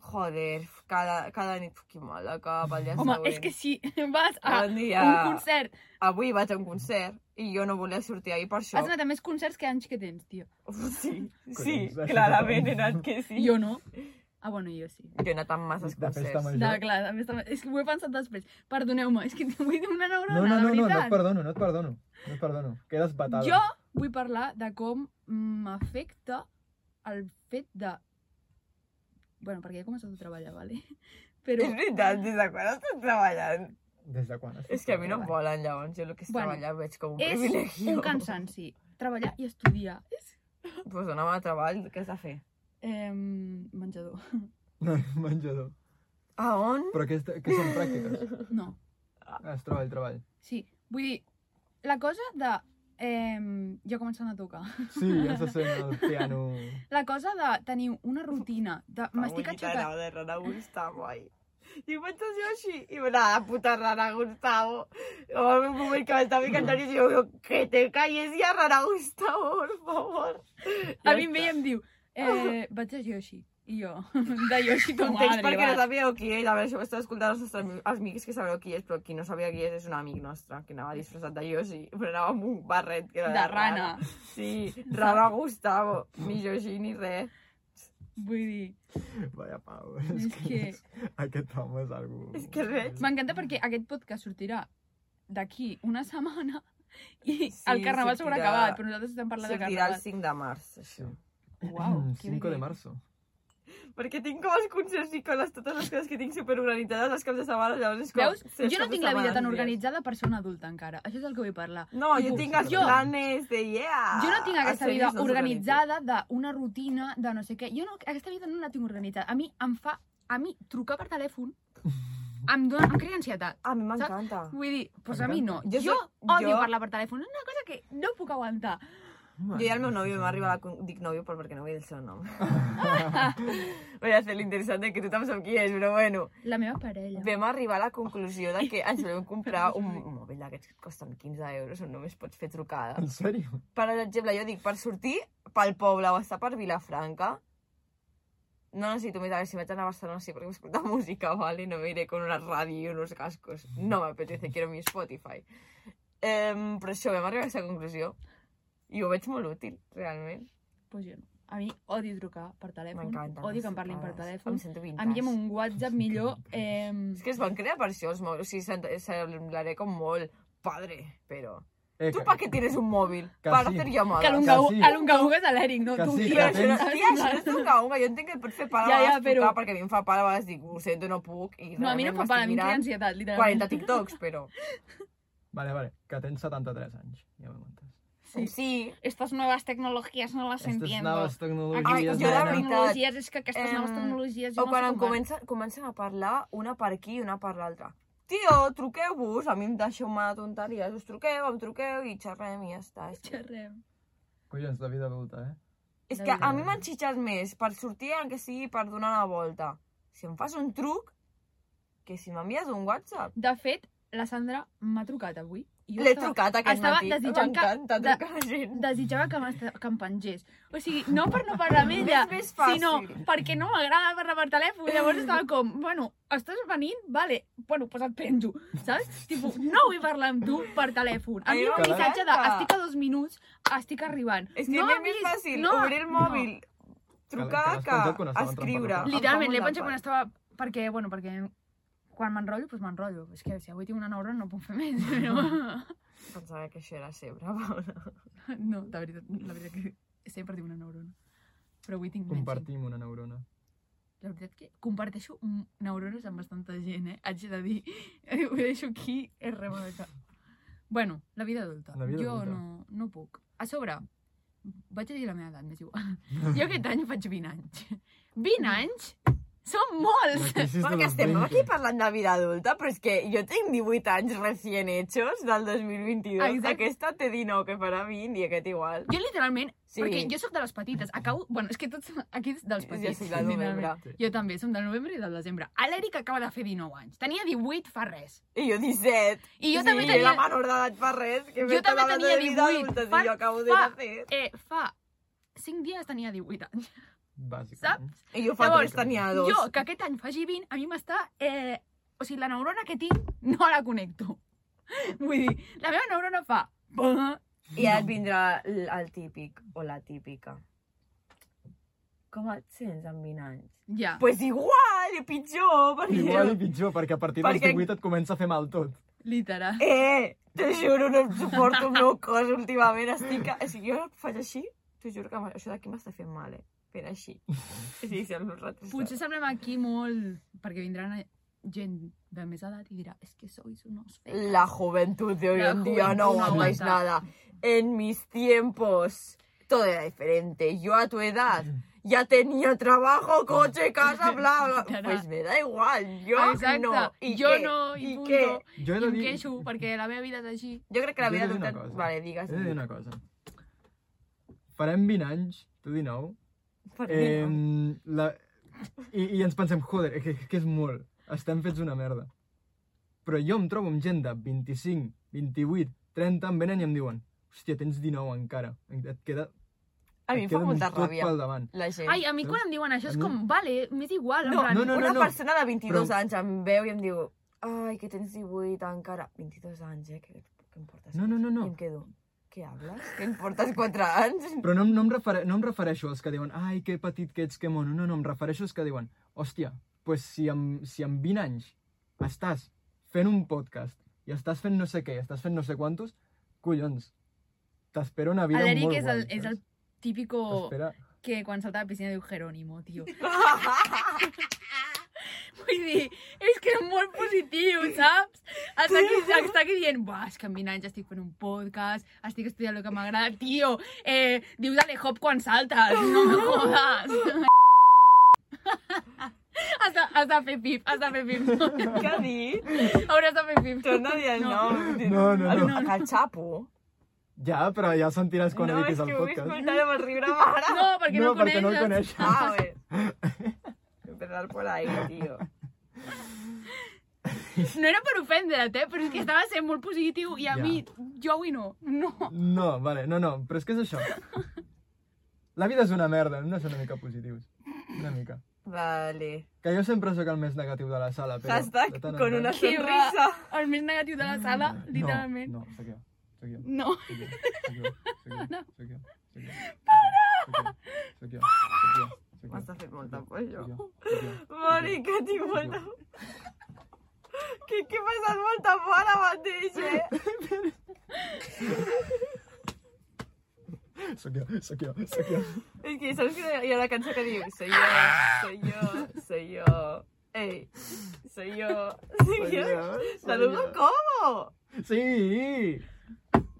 Speaker 4: Joder, f- cada, cada nit, uf, que mal de cap, el dia
Speaker 3: Home,
Speaker 4: següent.
Speaker 3: és que si vas a
Speaker 4: Bon dia.
Speaker 3: un concert,
Speaker 4: Avui vaig a un concert i jo no volia sortir ahir per això.
Speaker 3: has anat a més concerts que anys que tens, tio.
Speaker 4: Uf, Sí, sí,
Speaker 2: Collons, això
Speaker 4: clarament he
Speaker 2: també.
Speaker 4: anat que sí.
Speaker 3: Jo no. Ah, bueno, jo sí.
Speaker 4: Jo he anat a masses
Speaker 2: De festa
Speaker 4: concerts.
Speaker 2: major.
Speaker 3: No, clar, també està... És que ho he pensat després. Perdoneu-me, és que vull dir una neurona,
Speaker 2: No, no, no, no,
Speaker 3: la
Speaker 2: no
Speaker 3: veritat.
Speaker 2: et perdono, no et perdono. No et perdono. Quedes batada.
Speaker 3: Jo vull parlar de com m'afecta el fet de... Bueno, perquè he començat a treballar, vale? Però...
Speaker 4: És veritat, des de quan estan treballant?
Speaker 2: Des de quan?
Speaker 4: És que a mi no em volen, llavors. Jo el que és
Speaker 3: Bueno,
Speaker 4: treballar veig com un
Speaker 3: És
Speaker 4: privilegi.
Speaker 3: un cansanci. Treballar i estudiar. És...
Speaker 4: Pues anava a treball, què has de fer?
Speaker 3: Eh, menjador.
Speaker 2: No, menjador.
Speaker 4: A on?
Speaker 2: Però que, este- que són pràctiques.
Speaker 3: No.
Speaker 2: Ah, és treball, treball.
Speaker 3: Sí. Vull dir, la cosa de... Eh, ja començant a tocar.
Speaker 2: Sí, ja se sent el piano...
Speaker 3: La cosa de tenir una rutina, de
Speaker 2: Ah,
Speaker 3: m'estic aixecant...
Speaker 4: Anava de Rana Gustavo, ai. I ho vaig dir així, i la puta Rana Gustavo. O en un moment que m'estava encantant i jo, jo, que te calles ja, Rana Gustavo, por favor.
Speaker 3: A mi em ve i em diu, eh, vaig a Yoshi. I jo, de Yoshi tu
Speaker 4: Context
Speaker 3: madre,
Speaker 4: perquè no
Speaker 3: vas.
Speaker 4: sabíeu qui és, a veure si ho esteu escoltant els nostres ami- amics que sabreu qui és, però qui no sabia qui és és un amic nostre, que anava disfressat de Yoshi, però anava amb un barret que era
Speaker 3: De rana.
Speaker 4: Sí, Rana Gustavo, ni Yoshi ni res.
Speaker 3: Vull dir,
Speaker 2: Vaya pau.
Speaker 3: És que-
Speaker 2: Aquest home és algú...
Speaker 4: És que res.
Speaker 3: M'encanta perquè aquest podcast sortirà d'aquí una setmana i
Speaker 4: Sí,
Speaker 3: el carnaval s'haurà
Speaker 4: sortirà-
Speaker 3: acabat, però nosaltres estem parlant de
Speaker 4: Sortirà el
Speaker 3: carnaval.
Speaker 4: 5 de març, això.
Speaker 3: Uau,
Speaker 2: 5
Speaker 3: que bé.
Speaker 2: Mm, de marzo.
Speaker 4: Perquè tinc com els concerts i com les, totes les coses que tinc superorganitzades els caps de setmana, llavors és com...
Speaker 3: Veus?
Speaker 4: ser
Speaker 3: Jo no
Speaker 4: caps de
Speaker 3: tinc la vida
Speaker 4: setmana,
Speaker 3: tan
Speaker 4: dies.
Speaker 3: organitzada per ser una adulta encara. Això és el que vull parlar.
Speaker 4: No, jo
Speaker 3: Uf,
Speaker 4: tinc els
Speaker 3: jo-
Speaker 4: planes de yeah!
Speaker 3: Jo no tinc aquesta
Speaker 4: Els
Speaker 3: vida
Speaker 4: planes no
Speaker 3: organitzada d'una rutina, de no sé què. Jo no, aquesta vida no la tinc organitzada. A mi em fa... A mi trucar per telèfon em, dona, em crea ansietat.
Speaker 4: s'organitzen. A mi m'encanta.
Speaker 3: Vull dir, doncs a mi no.
Speaker 4: Jo
Speaker 3: Jo,
Speaker 4: soc-
Speaker 3: odio
Speaker 4: jo-
Speaker 3: parlar per telèfon. És una cosa que no puc aguantar.
Speaker 4: Jo i el meu nòvio m'arriba a la... con- Dic nòvio però perquè no vull el seu nom. Voy a fer l'interessant de que tothom sap qui és, però bueno.
Speaker 3: La meva parella.
Speaker 4: Vam arribar a la conclusió de que ens vam comprar un mòbil d'aquests que costen 15 euros on només pots fer trucades.
Speaker 2: En sèrio?
Speaker 4: per exemple, jo dic, per sortir pel poble o estar per Vilafranca, no necessito més, a veure, si vaig anar a Barcelona sí, perquè vull escoltar música, ¿vale? No me iré con una radio y unos cascos. No me apetece, quiero mi Spotify. Em, però això, vam arribar a aquesta conclusió. I ho veig molt útil, realment.
Speaker 3: Pues jo no. A mi odio trucar per telèfon.
Speaker 4: M'encanta.
Speaker 3: Odio que em parlin per telèfon.
Speaker 4: Em sento
Speaker 3: A
Speaker 4: vintage.
Speaker 3: mi amb un WhatsApp millor... Eh,
Speaker 4: És que es van crear per això els mòbils. O sigui, sent- semblaré com molt padre, però...
Speaker 2: Eh,
Speaker 4: Tu
Speaker 2: que-
Speaker 4: per què tienes un móvil?
Speaker 2: Que
Speaker 4: Per
Speaker 2: sí.
Speaker 4: hacer llamadas.
Speaker 3: que a l'Ungau
Speaker 2: sí.
Speaker 3: a l'Ungau és a l'Eric, no?
Speaker 2: Que
Speaker 3: tu,
Speaker 2: sí,
Speaker 3: tio,
Speaker 4: Tio,
Speaker 2: que
Speaker 3: això
Speaker 4: això no,
Speaker 3: no
Speaker 4: tia,
Speaker 3: és
Speaker 4: això no és
Speaker 3: normal.
Speaker 4: trucar, home, jo entenc que et pot fer pal a
Speaker 3: Ja, ja,
Speaker 4: vegades
Speaker 3: però-
Speaker 4: trucar, perquè a mi em fa pal a vegades dic, ho sento, no puc, i
Speaker 3: No, a mi no em fa
Speaker 4: realment
Speaker 3: pal, a mi em crea
Speaker 4: m'estic mirant
Speaker 3: ansietat, literalment.
Speaker 4: 40 TikToks, però...
Speaker 2: Vale, vale, que tens 73 anys, ja m'ho entès.
Speaker 3: Sí.
Speaker 4: sí.
Speaker 3: Estas nuevas tecnologías no las
Speaker 2: Aquestes
Speaker 3: entiendo.
Speaker 2: noves
Speaker 4: Ai,
Speaker 2: tecnologies...
Speaker 4: Ah, jo
Speaker 3: Aquestes
Speaker 4: de
Speaker 2: no,
Speaker 3: noves
Speaker 2: no.
Speaker 4: veritat,
Speaker 3: tecnologies, és que aquestes
Speaker 4: em,
Speaker 3: noves tecnologies... jo
Speaker 4: O
Speaker 3: no
Speaker 4: quan
Speaker 3: sé
Speaker 4: em
Speaker 3: com van.
Speaker 4: comencen, comencen a parlar una per aquí i una per l'altra. Tio, truqueu-vos, a mi em deixeu mà de tonteries, us truqueu, em truqueu i xerrem i ja està. És, que-
Speaker 3: Xerrem.
Speaker 2: Collons, la vida adulta, eh?
Speaker 4: és que a mi m'han xitxat més per sortir, en que sigui per donar una volta. Si em fas un truc, que si m'envies un WhatsApp.
Speaker 3: De fet, la Sandra m'ha trucat avui. i jo
Speaker 4: L'he
Speaker 3: estava-
Speaker 4: trucat aquest
Speaker 3: estava
Speaker 4: matí.
Speaker 3: desitjant que-
Speaker 4: M'encanta
Speaker 3: de-
Speaker 4: trucar a gent.
Speaker 3: desitjava que, m'est- que em pengés. O sigui, no per no parlar amb ella,
Speaker 4: És més fàcil.
Speaker 3: sinó perquè no m'agrada parlar per telèfon. Llavors estava com, bueno, estàs venint? Vale, bueno, doncs et penjo, saps? Tipo, no vull parlar amb tu per telèfon.
Speaker 4: A mi
Speaker 3: Envia un
Speaker 2: m'encanta.
Speaker 3: missatge de, estic a dos minuts, estic arribant.
Speaker 4: És que no és més fàcil no,
Speaker 3: no,
Speaker 4: obrir el mòbil, trucar,
Speaker 2: Que l'has
Speaker 4: que,
Speaker 2: penjat quan estava
Speaker 4: escriure.
Speaker 2: entrant
Speaker 4: Em fa
Speaker 3: Literalment,
Speaker 4: molt
Speaker 3: l'he
Speaker 4: de
Speaker 3: penjat
Speaker 4: pal.
Speaker 3: quan estava... Perquè, bueno, perquè quan m'enrotllo, doncs m'enrotllo. És que si avui tinc una neurona no puc fer més. No,
Speaker 4: Pensava que això era sempre, Paula.
Speaker 3: no de veritat, la veritat que sempre tinc una neurona. Però avui tinc menys.
Speaker 2: Compartim una neurona.
Speaker 3: La veritat que comparteixo mm, neurones amb bastanta gent, eh? Haig de dir, eh, ho deixo aquí, és remata. Bueno, la vida adulta.
Speaker 2: La vida
Speaker 3: jo
Speaker 2: adulta.
Speaker 3: No, no puc. A sobre, vaig a dir la meva edat, m'és igual. Jo aquest any faig 20 anys. 20 anys? Són molts!
Speaker 4: Perquè estem aquí parlant de vida adulta, però és que jo tinc 18 anys recient hechos del 2022.
Speaker 3: Exacte.
Speaker 4: Aquesta té 19, que farà 20, i aquest igual.
Speaker 3: Jo literalment, sí.
Speaker 4: Sí.
Speaker 3: perquè jo sóc de les petites, acabo... Bueno, és que tots aquí dels petits.
Speaker 4: Jo soc de novembre.
Speaker 3: literalment. Jo també, som del novembre i del desembre. A l'Eric acaba de fer 19 anys. Tenia 18 fa res.
Speaker 4: I jo 17.
Speaker 3: I jo
Speaker 4: O sigui,
Speaker 3: també
Speaker 4: Jo era
Speaker 3: tenia...
Speaker 4: menor d'edat per res, que
Speaker 3: Jo també
Speaker 4: m'estàs
Speaker 3: tenia
Speaker 4: de vida
Speaker 3: 18.
Speaker 4: adulta,
Speaker 3: Fa-
Speaker 4: si jo acabo de
Speaker 3: fa-
Speaker 4: nacer.
Speaker 3: Eh, fa 5 dies tenia 18 anys.
Speaker 2: Bàsicament.
Speaker 4: I jo fa
Speaker 3: Llavors,
Speaker 4: 3 tenia 2.
Speaker 3: Jo, que aquest any faci 20, a mi m'està... Eh, o sigui, la neurona que tinc no la connecto. Vull dir, la meva neurona fa...
Speaker 4: I ara et vindrà l- el típic, o la típica. Com et sents amb 20 anys?
Speaker 3: Ja.
Speaker 4: Pues igual, i pitjor, perquè...
Speaker 2: Igual i pitjor, perquè a partir dels
Speaker 4: Perquè-
Speaker 2: 18 et comença a fer mal tot.
Speaker 3: Literal.
Speaker 4: Eh, t'ho juro, no em suporto el meu cos últimament. Estic... A... O sigui, jo faig així, t'ho juro que m- això d'aquí m'està fent mal, eh? Fent així. Sí, sí, amb nosaltres.
Speaker 3: Potser semblem aquí molt... Perquè vindran gent de més edat i dirà és que sois unos fecas. Ah,
Speaker 4: La juventud de hoy
Speaker 3: La
Speaker 4: en día no
Speaker 3: juventud no
Speaker 4: aguantáis
Speaker 3: aguanta.
Speaker 4: nada. En mis tiempos todo era diferente. Yo a tu edad ya tenía trabajo, coche, casa, bla, bla. Pues me da igual. Yo
Speaker 3: Exacte.
Speaker 4: no. ¿Y
Speaker 3: jo Ah,
Speaker 4: qué?
Speaker 3: no, i,
Speaker 4: ¿Y
Speaker 3: punto.
Speaker 4: qué?
Speaker 2: Jo he
Speaker 3: I
Speaker 2: de
Speaker 3: em
Speaker 2: dir...
Speaker 3: queixo, perquè la meva vida és així.
Speaker 4: Yo creo que la
Speaker 2: Jo he
Speaker 4: vida
Speaker 2: de dir una
Speaker 4: adulta...
Speaker 2: cosa.
Speaker 4: Vale, digas.
Speaker 2: He de dir una cosa. Farem 20 anys, tu 19,
Speaker 4: Por
Speaker 2: eh,
Speaker 4: mí no.
Speaker 2: la... I, i ens pensem, joder, que, que és molt, estem fets una merda. Però jo em trobo amb gent de 25, 28, 30, em venen i em diuen, hòstia, tens 19 encara, et queda,
Speaker 4: A mi
Speaker 2: et
Speaker 4: em fa
Speaker 2: queda
Speaker 4: molta
Speaker 2: tot
Speaker 4: ràbia.
Speaker 2: pel davant.
Speaker 4: La gent.
Speaker 3: Ai, a mi quan em diuen això és
Speaker 2: A mi-
Speaker 3: com, vale, m'és igual. en
Speaker 4: Eh, No,
Speaker 3: plan,
Speaker 4: no,
Speaker 2: no,
Speaker 4: no, una
Speaker 2: no.
Speaker 4: persona de 22
Speaker 2: Però-
Speaker 4: anys em veu i em diu ai, que tens 18 encara. 22 anys, eh? Que, que em portes
Speaker 2: No, no, no, no.
Speaker 4: I em quedo, què hables? Que em portes 4 anys?
Speaker 2: Però no, no, em refere, no em refereixo als que diuen ai, que petit que ets, que mono. No, no, em refereixo als que diuen hòstia, pues si amb, si amb 20 anys estàs fent un podcast i estàs fent no sé què, estàs fent no sé quantos, collons, t'espera una vida molt
Speaker 3: L'Eric
Speaker 2: guai.
Speaker 3: és, el, és el
Speaker 2: saps?
Speaker 3: típico
Speaker 2: T'espera...
Speaker 3: que quan salta a la piscina diu Jerónimo, tio. Vull dir, és que és molt positiu, saps? Està aquí, està aquí dient, buah, és que amb 20 anys estic fent un podcast, estic estudiant el que m'agrada, tio, eh, dius dale hop quan saltes, no me jodas. has, de, has de fer pip, has de fer pip.
Speaker 4: Què ha dit?
Speaker 3: Hauràs de fer pip.
Speaker 4: Torna a dir el nom.
Speaker 2: No, no,
Speaker 4: El,
Speaker 2: no.
Speaker 4: el xapo.
Speaker 2: Ja, però ja sentiràs quan
Speaker 4: no,
Speaker 2: editis
Speaker 4: és
Speaker 2: el
Speaker 4: que ho he
Speaker 2: podcast.
Speaker 4: escoltat amb el riure mare.
Speaker 3: No, perquè no,
Speaker 2: no, perquè no el
Speaker 3: coneixes.
Speaker 2: coneixes.
Speaker 4: Ah, a ver. Empezar por ahí, tío.
Speaker 3: No era per ofendre't, eh? però és que estava sent molt positiu i a
Speaker 2: Ja.
Speaker 3: mi, jo avui no. No.
Speaker 2: No, vale, no, no, però és que és això. La vida és una merda, hem de ser una mica positius. Una mica.
Speaker 4: Vale.
Speaker 2: Que jo sempre sóc el més negatiu de la sala, però... de
Speaker 4: Hashtag
Speaker 2: tant en
Speaker 4: con
Speaker 2: tant-
Speaker 4: una
Speaker 3: Qué
Speaker 4: sonrisa.
Speaker 3: El més negatiu de la sala, literalment.
Speaker 2: Ah, No, no, sóc jo. Sóc jo.
Speaker 3: No.
Speaker 2: Sóc jo. Sóc jo. Sóc jo. Sóc jo. Para! Sóc jo. Sóc jo. Sóc jo.
Speaker 4: M'està fent molta por,
Speaker 2: Sóc
Speaker 4: això.
Speaker 2: jo. Sóc jo.
Speaker 4: Mònica, tinc molta... Que, que he passat molta por ara mateix, eh?
Speaker 2: Sóc jo. Sóc jo. Sóc jo.
Speaker 4: És que saps que hi ha la cançó que diu Soy yo, soy yo, soy yo, ei, soy yo,
Speaker 2: Sóc
Speaker 4: soy
Speaker 2: jo.
Speaker 4: yo.
Speaker 2: Sóc jo.
Speaker 4: Saludo como?
Speaker 2: Sí!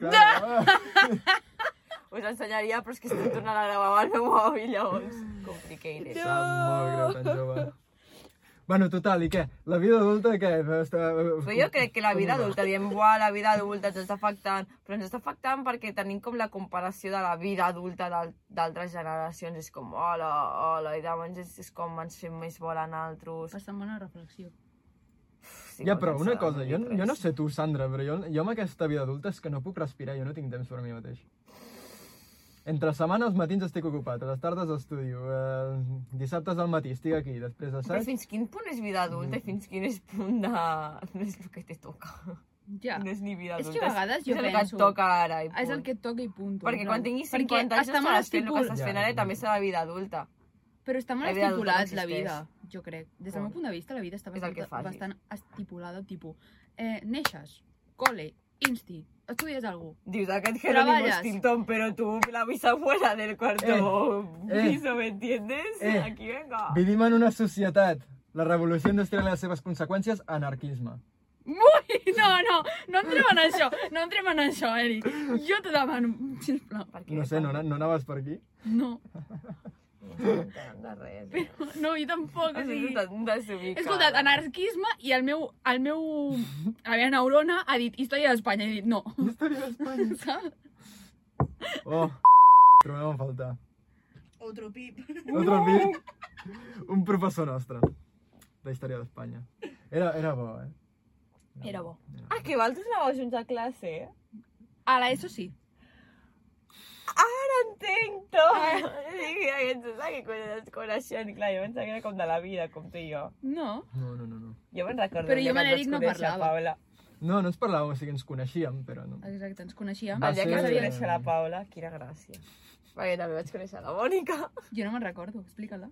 Speaker 2: Clar.
Speaker 4: Us ensenyaria, però és que estic tornant a gravar amb el meu mòbil, llavors. Complicated.
Speaker 2: Em Sap molt greu tan jove. Bueno, total, i què? La vida adulta, què? Està...
Speaker 4: Però jo crec que la vida adulta, diem, buah, la vida adulta ens està afectant, però ens està afectant perquè tenim com la comparació de la vida adulta d'al- d'altres generacions, és com, hola, hola, i llavors és, és com ens fem més vol en altres.
Speaker 3: Bastant bona reflexió.
Speaker 4: Sí,
Speaker 2: Ja,
Speaker 4: vol
Speaker 2: però una
Speaker 4: cansar,
Speaker 2: cosa, jo,
Speaker 4: dic
Speaker 2: jo no
Speaker 4: res.
Speaker 2: sé tu, Sandra, però jo, jo amb aquesta vida adulta és que no puc respirar, jo no tinc temps per mi mateix. Entre setmana als matins estic ocupat, a les tardes estudio, eh, dissabtes al matí estic aquí, després de
Speaker 4: Però
Speaker 2: saps?
Speaker 4: fins quin punt és vida adulta i fins quin és punt de... No és el que te toca.
Speaker 3: Ja.
Speaker 4: No és ni vida
Speaker 3: És
Speaker 4: adulta.
Speaker 3: que a vegades jo
Speaker 4: és el que
Speaker 3: penso,
Speaker 4: et toca ara. I
Speaker 3: És el
Speaker 4: punt.
Speaker 3: que et toca i punto.
Speaker 4: Perquè
Speaker 3: en
Speaker 4: quan
Speaker 3: plan.
Speaker 4: tinguis
Speaker 3: Perquè
Speaker 4: 50 anys no
Speaker 3: està molt
Speaker 4: estaràs fent el que
Speaker 3: estipul-
Speaker 4: estàs fent
Speaker 2: Ja,
Speaker 4: ara i també
Speaker 2: ja.
Speaker 4: serà vida adulta.
Speaker 3: Però està molt
Speaker 4: La vida adulta no
Speaker 3: estipulat la vida, jo crec. Des del meu
Speaker 4: Pobre.
Speaker 3: punt de vista, la vida està
Speaker 4: És el
Speaker 3: bastant,
Speaker 4: que facis.
Speaker 3: bastant estipulada, tipus, eh, neixes, cole, insti, estudies alguna
Speaker 4: Dius, aquest Jerónimo
Speaker 3: Traballas.
Speaker 4: Stilton, pero tú, la bisabuela del cuarto
Speaker 2: Eh, eh,
Speaker 4: piso, ¿me entiendes?
Speaker 2: eh.
Speaker 4: Aquí venga.
Speaker 2: Vivim en una societat. La revolució industrial i les seves conseqüències, anarquisme.
Speaker 3: Ui, no, no, no entrem en això, no entrem en això, Eric. Jo t'ho demano, sisplau.
Speaker 4: Perquè
Speaker 2: No sé, no, ana- no anaves per aquí?
Speaker 3: No,
Speaker 4: De res.
Speaker 3: però no, jo tampoc. O
Speaker 4: Has
Speaker 3: sigui,
Speaker 4: sigut tan desubicada.
Speaker 3: he escoltat anarquisme i el meu, el meu, la meva neurona ha dit història d'Espanya, he dit no.
Speaker 2: Història d'Espanya.
Speaker 3: Saps?
Speaker 2: Oh, trobem a faltar.
Speaker 5: Otro pip.
Speaker 2: Otro pit. Un professor nostre de història d'Espanya. Era, era bo, eh?
Speaker 3: Era bo.
Speaker 4: Ah, que vosaltres anàveu junts a classe, eh?
Speaker 3: A la ESO sí.
Speaker 4: Ara entenc tot! Dic, aquest és la que quan- coneixen, clar, jo pensava que era com de la vida, com tu i jo.
Speaker 3: No.
Speaker 2: No, no, no, no.
Speaker 4: Jo me'n recordo
Speaker 3: Però
Speaker 4: el
Speaker 3: jo
Speaker 4: dia
Speaker 3: amb
Speaker 4: que et
Speaker 3: l'Eric
Speaker 4: vaig
Speaker 3: no
Speaker 4: conèixer,
Speaker 3: parlava.
Speaker 4: Paula.
Speaker 2: No, no ens parlàvem, o sigui, ens coneixíem, però no.
Speaker 3: Exacte, ens coneixíem.
Speaker 2: Va
Speaker 4: El dia que
Speaker 2: ser-
Speaker 4: vaig
Speaker 2: sabia.
Speaker 4: conèixer la Paula, quina gràcia. Perquè també vaig conèixer la Mònica.
Speaker 3: Jo no me'n recordo, explica-la.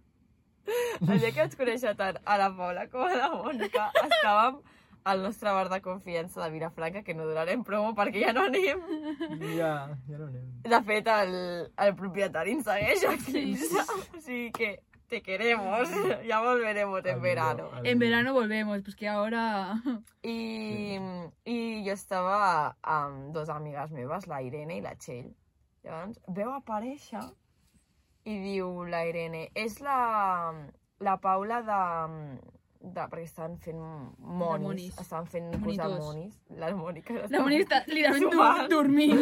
Speaker 4: El dia que vaig conèixer tant a la Paula com a la Mònica, estàvem al nostre bar de confiança de Vilafranca, que no donarem promo perquè ja no anem.
Speaker 2: Ja, ja no anem.
Speaker 4: De fet, el, el propietari ens segueix aquí. O sigui que te queremos, ja volveremos en
Speaker 2: Al
Speaker 4: verano.
Speaker 2: millor, al
Speaker 3: En
Speaker 2: millor.
Speaker 3: verano volvemos, pues que ahora...
Speaker 4: I, I jo estava amb dues amigues meves, la Irene i la Txell. Llavors veu aparèixer i diu la Irene, és la, la Paula de, de... perquè estaven fent monis,
Speaker 3: monis.
Speaker 4: estaven fent un curs de
Speaker 3: Monitors.
Speaker 4: monis. La Mònica.
Speaker 3: La Moni està literalment
Speaker 4: Sumar.
Speaker 3: dur dormint.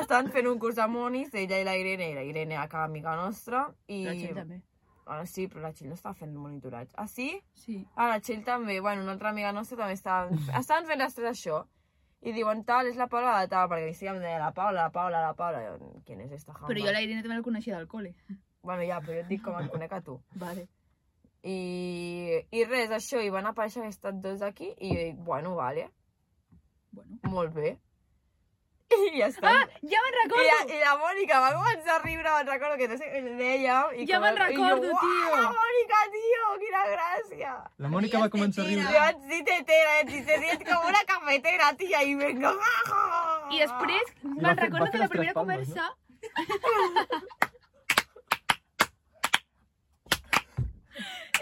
Speaker 4: Estaven fent un curs de monis, ella i la Irene, i la Irene a cada amiga nostra. I...
Speaker 3: La Txell també.
Speaker 4: Bueno, sí, però la Txell no estava fent monitoratge. Ah, sí?
Speaker 3: Sí.
Speaker 4: A la Txell també, bueno, una altra amiga nostra també estaven, estaven fent les tres això. I diuen, tal, és la Paula de tal, perquè sí que em deia la Paula, la Paula, la Paula. I Jo, Quin és esta jamba?
Speaker 3: Però jo la Irene també la coneixia del col·le.
Speaker 4: Bueno, ja, però jo et dic com et conec a tu.
Speaker 3: Vale.
Speaker 4: I, I res, això, i van aparèixer aquestes dos aquí, i jo dic, bueno, vale,
Speaker 3: Bueno.
Speaker 4: molt bé. I ja està.
Speaker 3: Ah, ja me'n
Speaker 4: I la,
Speaker 3: recordo!
Speaker 4: I la Mònica va començar a riure, me'n recordo que no sé, dèiem... I
Speaker 3: Ja
Speaker 4: com-
Speaker 3: me'n recordo,
Speaker 4: i jo,
Speaker 3: tio."
Speaker 4: "Uah, La Mònica, tio, quina gràcia!
Speaker 2: La Mònica va començar a
Speaker 4: Yo
Speaker 2: riure.
Speaker 4: así te tera, te sientes como una cafetera, tía, y vengo.
Speaker 3: I després
Speaker 2: va
Speaker 3: me'n
Speaker 2: fer- va
Speaker 3: recordo
Speaker 2: fer
Speaker 3: que
Speaker 2: les
Speaker 3: la
Speaker 2: tres
Speaker 3: primera
Speaker 2: palmes,
Speaker 3: conversa...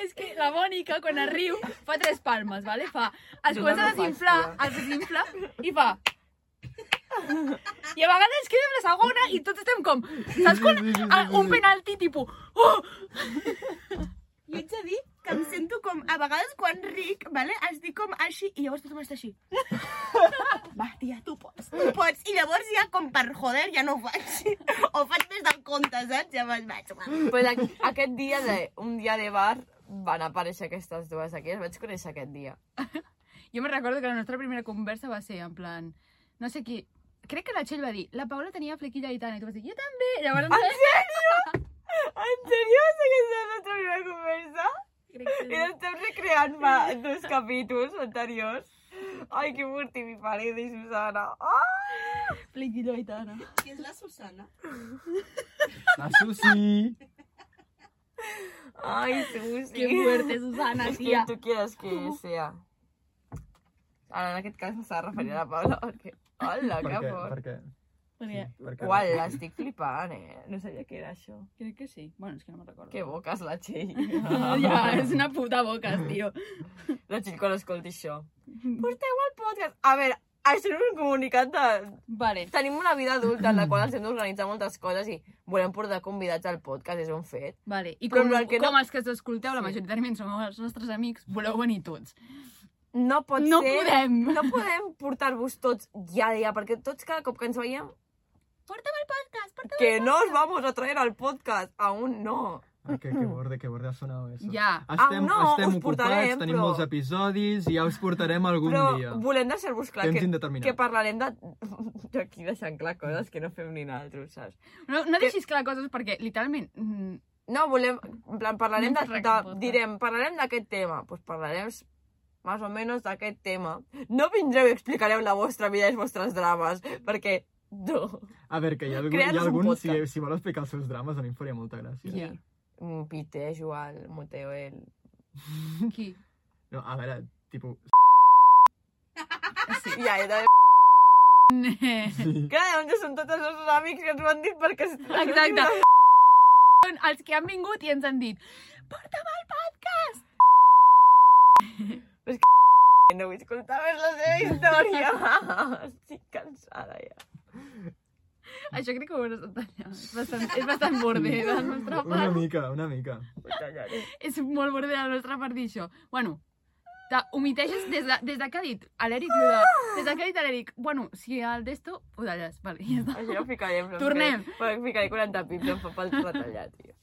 Speaker 3: És que la Mònica, quan es riu, fa tres palmes, vale? Fa... Es
Speaker 4: Jo
Speaker 3: comença
Speaker 4: no
Speaker 3: a
Speaker 4: ho faig,
Speaker 3: desinflar,
Speaker 4: tia.
Speaker 3: es desinfla i fa... I a vegades queda amb la segona i tots estem com... Saps quan
Speaker 2: sí, sí, sí,
Speaker 3: ah,
Speaker 2: sí.
Speaker 3: un penalti tipus... Oh!
Speaker 5: Jo ets a dir que em sento com... A vegades quan ric, vale, es dic com així i llavors tothom està així. Va, tia, tu pots, tu pots. I llavors ja com per joder ja no ho faig. O faig més del compte, saps? Ja me'n vaig. va.
Speaker 4: Pues aqu- aquest dia, de, un dia de bar, van aparèixer aquestes dues aquí, les vaig conèixer aquest dia.
Speaker 3: Jo me recordo que la nostra primera conversa va ser en plan... No sé qui... Crec que la Txell va dir, la Paula tenia flequilla gitana, i tu vas dir, jo també! Llavors,
Speaker 2: Ah,
Speaker 4: En sèrio? En sèrio? Aquesta és la nostra primera conversa?
Speaker 3: crec que...
Speaker 4: I l'estem recreant fa dos capítols anteriors. Ai, que morti mi pareja i Susana. Ah!
Speaker 3: Flequilla gitana.
Speaker 5: Qui és la Susana?
Speaker 2: La Susi.
Speaker 4: Ai, Susi.
Speaker 3: Qué fuerte, Susana,
Speaker 4: Es
Speaker 3: tía.
Speaker 4: quien tú quieras que sea. Ara, en aquest cas, s'ha de referir a la Paula, perquè... Hola,
Speaker 2: Per
Speaker 4: que
Speaker 2: què?
Speaker 4: por.
Speaker 2: Per què?
Speaker 3: Perquè
Speaker 2: Per què?
Speaker 4: Uau, l'estic flipant, eh? No sabia què era això.
Speaker 3: crec que sí. Bueno, és que no me'n recordo.
Speaker 4: Que boques, la Txell.
Speaker 3: Ja, és una puta boca, tio.
Speaker 4: La Txell quan escolti això. Porteu el podcast. A veure, això és un comunicat de...
Speaker 3: Vale.
Speaker 4: Tenim una vida adulta en la qual ens hem d'organitzar moltes coses i volem portar convidats al podcast, és un fet.
Speaker 3: Vale. I
Speaker 4: Però
Speaker 3: com,
Speaker 4: el que no-
Speaker 3: com els que ens escolteu, la majoritàriament som els nostres amics, voleu venir tots.
Speaker 4: No pot
Speaker 3: No
Speaker 4: ser...
Speaker 3: podem.
Speaker 4: No podem portar-vos tots ja, ja, perquè tots cada cop que ens veiem... Que no os vamos a traer al podcast, aún no.
Speaker 2: Ah, que, que borde, que borde ha sonat això.
Speaker 3: Ja.
Speaker 2: Estem,
Speaker 4: Ah, no,
Speaker 2: estem
Speaker 4: us
Speaker 2: ocupats,
Speaker 4: portarem,
Speaker 2: tenim
Speaker 4: però-
Speaker 2: molts episodis i ja us portarem algun
Speaker 4: Però
Speaker 2: dia.
Speaker 4: volem deixar-vos clar
Speaker 2: Temps
Speaker 4: que,
Speaker 2: indeterminat.
Speaker 4: que parlarem de... Jo aquí deixant clar coses que no fem ni naltros, saps?
Speaker 3: No, no deixis clar coses perquè, literalment, mm,
Speaker 4: No, volem... En plan, parlarem
Speaker 3: No
Speaker 4: de...
Speaker 3: ens
Speaker 4: de
Speaker 3: recomposa.
Speaker 4: direm, parlarem d'aquest tema. Doncs pues parlarem s- més o menys d'aquest tema. No vindreu i explicareu la vostra vida i els vostres drames, perquè no.
Speaker 2: A veure, que hi ha, algú, hi
Speaker 4: Crear-nos
Speaker 2: ha
Speaker 4: un
Speaker 2: algun, si,
Speaker 4: podcast.
Speaker 2: si vol explicar els seus drames, a mi em faria molta gràcia.
Speaker 3: Ja.
Speaker 4: Mm, Pite, Joan, Moteo, el...
Speaker 3: qui?
Speaker 2: No, a veure, tipus...
Speaker 3: Sí.
Speaker 4: Ja, i de...
Speaker 2: Sí.
Speaker 4: Clar, doncs són tots els nostres amics que ens ho han dit perquè...
Speaker 3: Exacte. Són els que han vingut i ens han dit porta'm al podcast!
Speaker 4: No vull escoltar més la seva història. Estic cansada ja.
Speaker 3: Això crec que ho hauràs de tallar. És bastant, és bastant borde de la nostra
Speaker 2: Una
Speaker 3: part.
Speaker 2: mica, una mica.
Speaker 4: Ho tallaré.
Speaker 3: És molt borde de la nostra part dir això. Bueno, t'humiteixes des, de, des de que ha dit a l'Eric lo de... Des de que ha dit a l'Eric, bueno, si el d'esto, ho talles. Vale, ja està.
Speaker 4: Això ho ficaré en plan...
Speaker 3: Tornem.
Speaker 4: Perquè ficaré 40 pips en fa pel retallar, tio.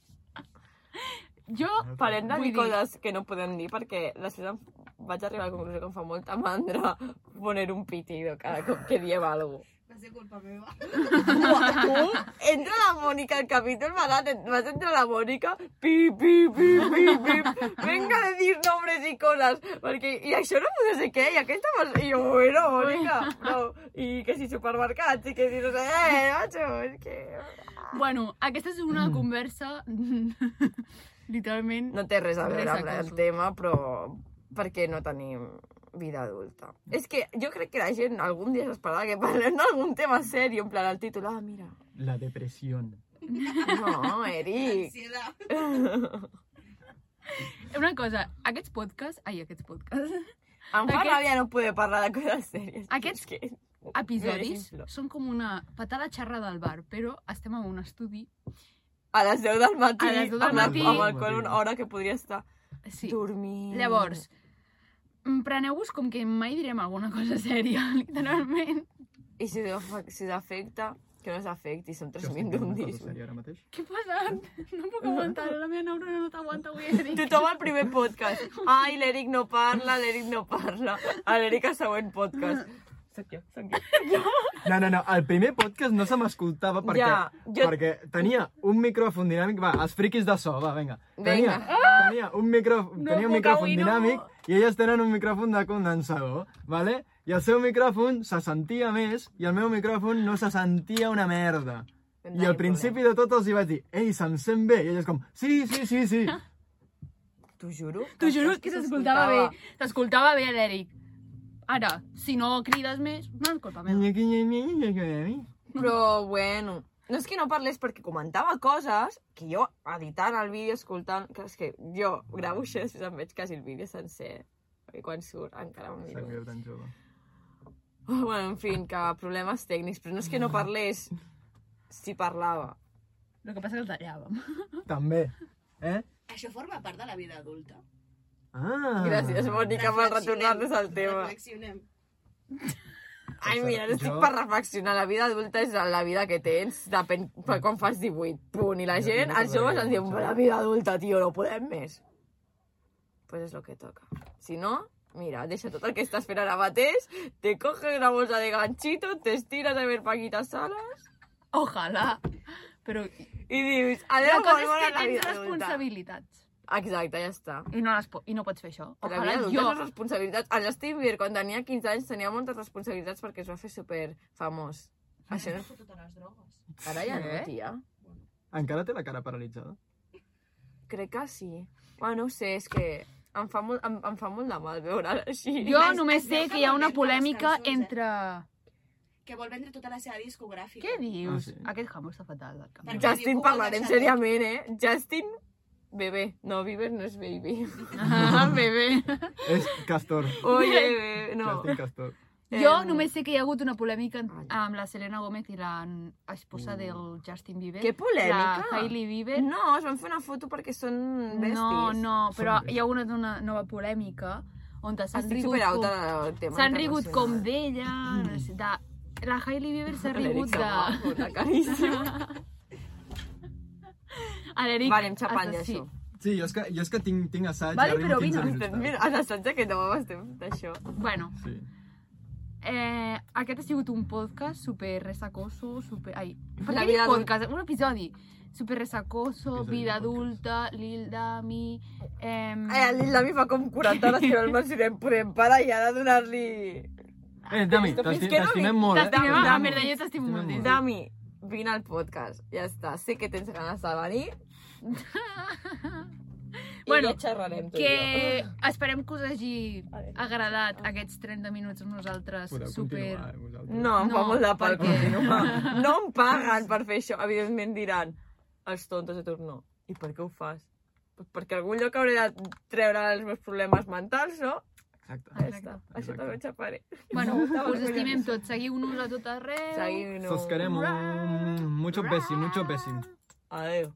Speaker 3: Jo,
Speaker 4: Parem de
Speaker 3: Vull
Speaker 4: dir
Speaker 3: dir-
Speaker 4: coses que no podem dir perquè després em... vaig arribar a la conclusió que em fa molta mandra poner un pitido cada cop que diem alguna cosa.
Speaker 5: Va ser culpa meva.
Speaker 4: Tu, entra la Mònica al capítol, vas, vas entrar la Mònica, pip, pip, pip, pip, pip, venga a dir nombres i coses, perquè, i això no no sé què, i aquesta va... I jo, bueno, Mònica, no, i que si supermercats, i que si no sé, eh, macho, és que...
Speaker 3: bueno, aquesta és una conversa... Literalment...
Speaker 4: No té res a
Speaker 3: Res
Speaker 4: veure
Speaker 3: a
Speaker 4: amb el
Speaker 3: cosa.
Speaker 4: tema, però perquè no tenim vida adulta. És que jo crec que la gent algun dia s'esperarà que parlem d'algun tema sèrio, en plan el títol, ah, mira,
Speaker 2: La depressió.
Speaker 4: no, Eric.
Speaker 5: Ansiedad.
Speaker 3: Una cosa, aquests podcasts... Ai, aquests podcasts...
Speaker 4: Em fa
Speaker 3: Aquest-
Speaker 4: ràbia no poder parlar de coses sèries.
Speaker 3: Aquests-
Speaker 4: És que...
Speaker 3: Episodis
Speaker 4: Bé,
Speaker 3: són com una patada xerra del bar, però estem en un estudi...
Speaker 4: A les 10 del matí,
Speaker 3: A les 10 del
Speaker 4: amb,
Speaker 3: matí.
Speaker 4: el, amb el qual una hora que podria estar
Speaker 3: Sí.
Speaker 4: dormint.
Speaker 3: Llavors, mm, preneu-vos com que mai direm alguna cosa sèria, literalment.
Speaker 4: I si us si us afecta, que no us afecti, són
Speaker 2: Jo
Speaker 4: 3
Speaker 2: estic fent
Speaker 4: minuts d'un
Speaker 2: una cosa
Speaker 4: disc.
Speaker 2: sèria ara mateix.
Speaker 3: Què pesat? No puc aguantar, la meva neurona no t'aguanta avui. Eric.
Speaker 4: Tothom al primer podcast. Ai, l'Eric no parla, l'Eric no parla. A l'Eric al següent podcast. Soc jo, soc jo.
Speaker 2: No, no, no, el primer podcast no se m'escoltava perquè,
Speaker 4: Ja, jo-
Speaker 2: perquè tenia un micròfon dinàmic, va, els friquis de so, va, vinga. Tenia,
Speaker 4: Vinga.
Speaker 2: tenia un, micro, tenia un
Speaker 3: puc
Speaker 2: micròfon
Speaker 3: avui, no.
Speaker 2: dinàmic i elles tenen un micròfon de condensador, vale? I el seu micròfon se sentia més i el meu micròfon no se sentia una merda. I al principi de tot els hi vaig dir, ei, se'm sent bé. I elles com, sí, sí, sí, sí.
Speaker 4: T'ho juro.
Speaker 3: T'ho juro que s'escoltava bé. S'escoltava bé l'Eric. Ara, si no crides més, no és culpa meva.
Speaker 4: Però, bueno... No és que no parlés perquè comentava coses que jo, editant el vídeo, escoltant... Que és que jo gravo això i després em veig quasi el vídeo sencer. Perquè quan surt encara em
Speaker 2: Sap
Speaker 4: miro.
Speaker 2: greu, tan jove.
Speaker 4: Oh, bueno, en fin, que problemes tècnics. Però no és que no parlés si parlava.
Speaker 3: El que passa que el tallàvem.
Speaker 2: També. Eh?
Speaker 5: Això forma part de la vida adulta.
Speaker 2: Ah.
Speaker 4: Gràcies, Mònica, per retornar-nos al tema.
Speaker 5: Reflexionem.
Speaker 4: Ai, mira, no estic
Speaker 2: Jo-
Speaker 4: per reflexionar. La vida adulta és la vida que tens depèn per quan fas 18. Punt. I la
Speaker 2: Mm. Jo
Speaker 4: gent,
Speaker 2: tinc una
Speaker 4: els joves
Speaker 2: cosa
Speaker 4: ens
Speaker 2: que
Speaker 4: diuen,
Speaker 2: pensava.
Speaker 4: la vida adulta, tio, no podem més. Pues és el que toca. Si no, mira, deixa tot el que estàs fent ara mateix, te coges una bolsa de ganchito, t'estires a ver Paquita Salas
Speaker 3: Ojalà. Però
Speaker 4: i dius,
Speaker 3: la
Speaker 4: adéu,
Speaker 3: cosa
Speaker 4: molt
Speaker 3: és
Speaker 4: bona
Speaker 3: que
Speaker 4: la
Speaker 3: tens
Speaker 4: vida adulta.
Speaker 3: responsabilitats.
Speaker 4: Exacte, ja està.
Speaker 3: I no, les po i no pots fer això.
Speaker 4: La vida
Speaker 3: Ojalà
Speaker 4: adulta
Speaker 3: jo...
Speaker 4: és les responsabilitats. El Justin Bieber, quan tenia 15 anys, tenia moltes responsabilitats perquè es va fer super famós. Això no... Ara ja no,
Speaker 3: Sí.
Speaker 4: tia.
Speaker 2: Encara té la cara paralitzada.
Speaker 4: Crec que sí. Bueno, no ho sé, és que em fa molt, em, em fa molt de mal veure-la així.
Speaker 3: Jo
Speaker 5: Es-
Speaker 3: només
Speaker 5: es
Speaker 3: sé
Speaker 5: veu
Speaker 3: que
Speaker 5: que
Speaker 3: hi ha
Speaker 5: vol
Speaker 3: una
Speaker 5: vendre les
Speaker 3: polèmica
Speaker 5: cançons, eh?
Speaker 3: entre...
Speaker 5: Que vol vendre tota la seva discogràfica.
Speaker 3: Què dius?
Speaker 2: Ah, sí.
Speaker 3: Aquest jamón està fatal. del cap.
Speaker 5: Per-
Speaker 4: Justin,
Speaker 5: Diu,
Speaker 4: parlarem
Speaker 5: "Guarda,
Speaker 4: seriament, eh? Justin, bebé. No, Bieber no és baby.
Speaker 3: Ah, bebé.
Speaker 2: És Castor.
Speaker 4: Oye, bebé. Oh, No. Eh,
Speaker 2: Justin Castor.
Speaker 3: Jo només sé que hi ha hagut una polèmica en- amb la Selena Gómez i la n- esposa del Justin Bieber.
Speaker 4: Que polèmica!
Speaker 3: La Hailey Bieber.
Speaker 4: No, es van fer una foto perquè són besties.
Speaker 3: no, no, però
Speaker 2: Són
Speaker 3: hi ha una, una nova polèmica on s'han
Speaker 4: Estic
Speaker 3: rigut,
Speaker 4: superauta
Speaker 3: com-
Speaker 4: del tema
Speaker 3: s'han
Speaker 4: eh.
Speaker 3: rigut com
Speaker 4: internacional. Mm.
Speaker 3: d'ella, no sé, de... La Hailey Bieber s'ha rigut
Speaker 4: L'Eric
Speaker 3: de...
Speaker 4: s'ha guapo, de caríssim.
Speaker 3: A l'Eric...
Speaker 4: Vale, em xapant
Speaker 3: hasta-
Speaker 4: ja
Speaker 3: Ah, sí.
Speaker 4: això. Doncs
Speaker 2: Sí, jo és que, jo és que tinc, tinc assaig.
Speaker 3: Vale,
Speaker 2: arribo
Speaker 3: però
Speaker 2: 15
Speaker 3: vine,
Speaker 2: minuts tard.
Speaker 4: Mira, a l'assaig aquest demà estem d'això.
Speaker 3: Bueno,
Speaker 2: Sí.
Speaker 3: eh, aquest ha sigut un podcast super resacoso, super... Ai, per
Speaker 4: La
Speaker 3: què
Speaker 4: vida
Speaker 3: dic
Speaker 4: adulta.
Speaker 3: podcast? Un episodi. Super resacoso,
Speaker 2: Episodi de
Speaker 3: vida
Speaker 2: podcast.
Speaker 3: adulta, Lil Dami... Ehm...
Speaker 4: Eh, l'Islami fa com 40 hores que no el mencionem, podem parar ja de donar-li...
Speaker 2: Eh, Dami,
Speaker 4: Fins
Speaker 2: t'esti-
Speaker 4: que no
Speaker 2: t'estimem
Speaker 4: vinc.
Speaker 2: molt, eh?
Speaker 3: T'estimem,
Speaker 4: Dami,
Speaker 3: ah,
Speaker 4: Dami.
Speaker 3: merda, jo t'estimo
Speaker 2: T'estimem
Speaker 3: molt.
Speaker 2: molt.
Speaker 3: Dami.
Speaker 4: Dami, vine al podcast, ja està. Sé que tens ganes de venir. I
Speaker 3: Bueno,
Speaker 4: ja xerrarem tu i
Speaker 3: Que esperem que us hagi
Speaker 4: veure. ah.
Speaker 3: agradat aquests 30 minuts amb nosaltres.
Speaker 2: Podeu
Speaker 3: super...
Speaker 2: continuar, eh, vosaltres.
Speaker 4: jo. No, em fa
Speaker 3: No,
Speaker 4: molt de pal
Speaker 3: perquè-
Speaker 4: continuar. No em paguen per fer això. Evidentment diran, els tontos de torno. I per què ho fas? Pues perquè a algun lloc hauré de treure els meus problemes mentals, no?
Speaker 2: Exacte.
Speaker 4: Ja està. Això
Speaker 2: Exacte.
Speaker 4: també ho xaparé.
Speaker 3: Bueno,
Speaker 4: Estava
Speaker 3: us estimem
Speaker 4: orgullosa.
Speaker 3: tots. Seguiu-nos a tot arreu.
Speaker 4: Seguim-nos.
Speaker 2: Sos queremos. Muchos besis, muchos besis.
Speaker 4: Adéu.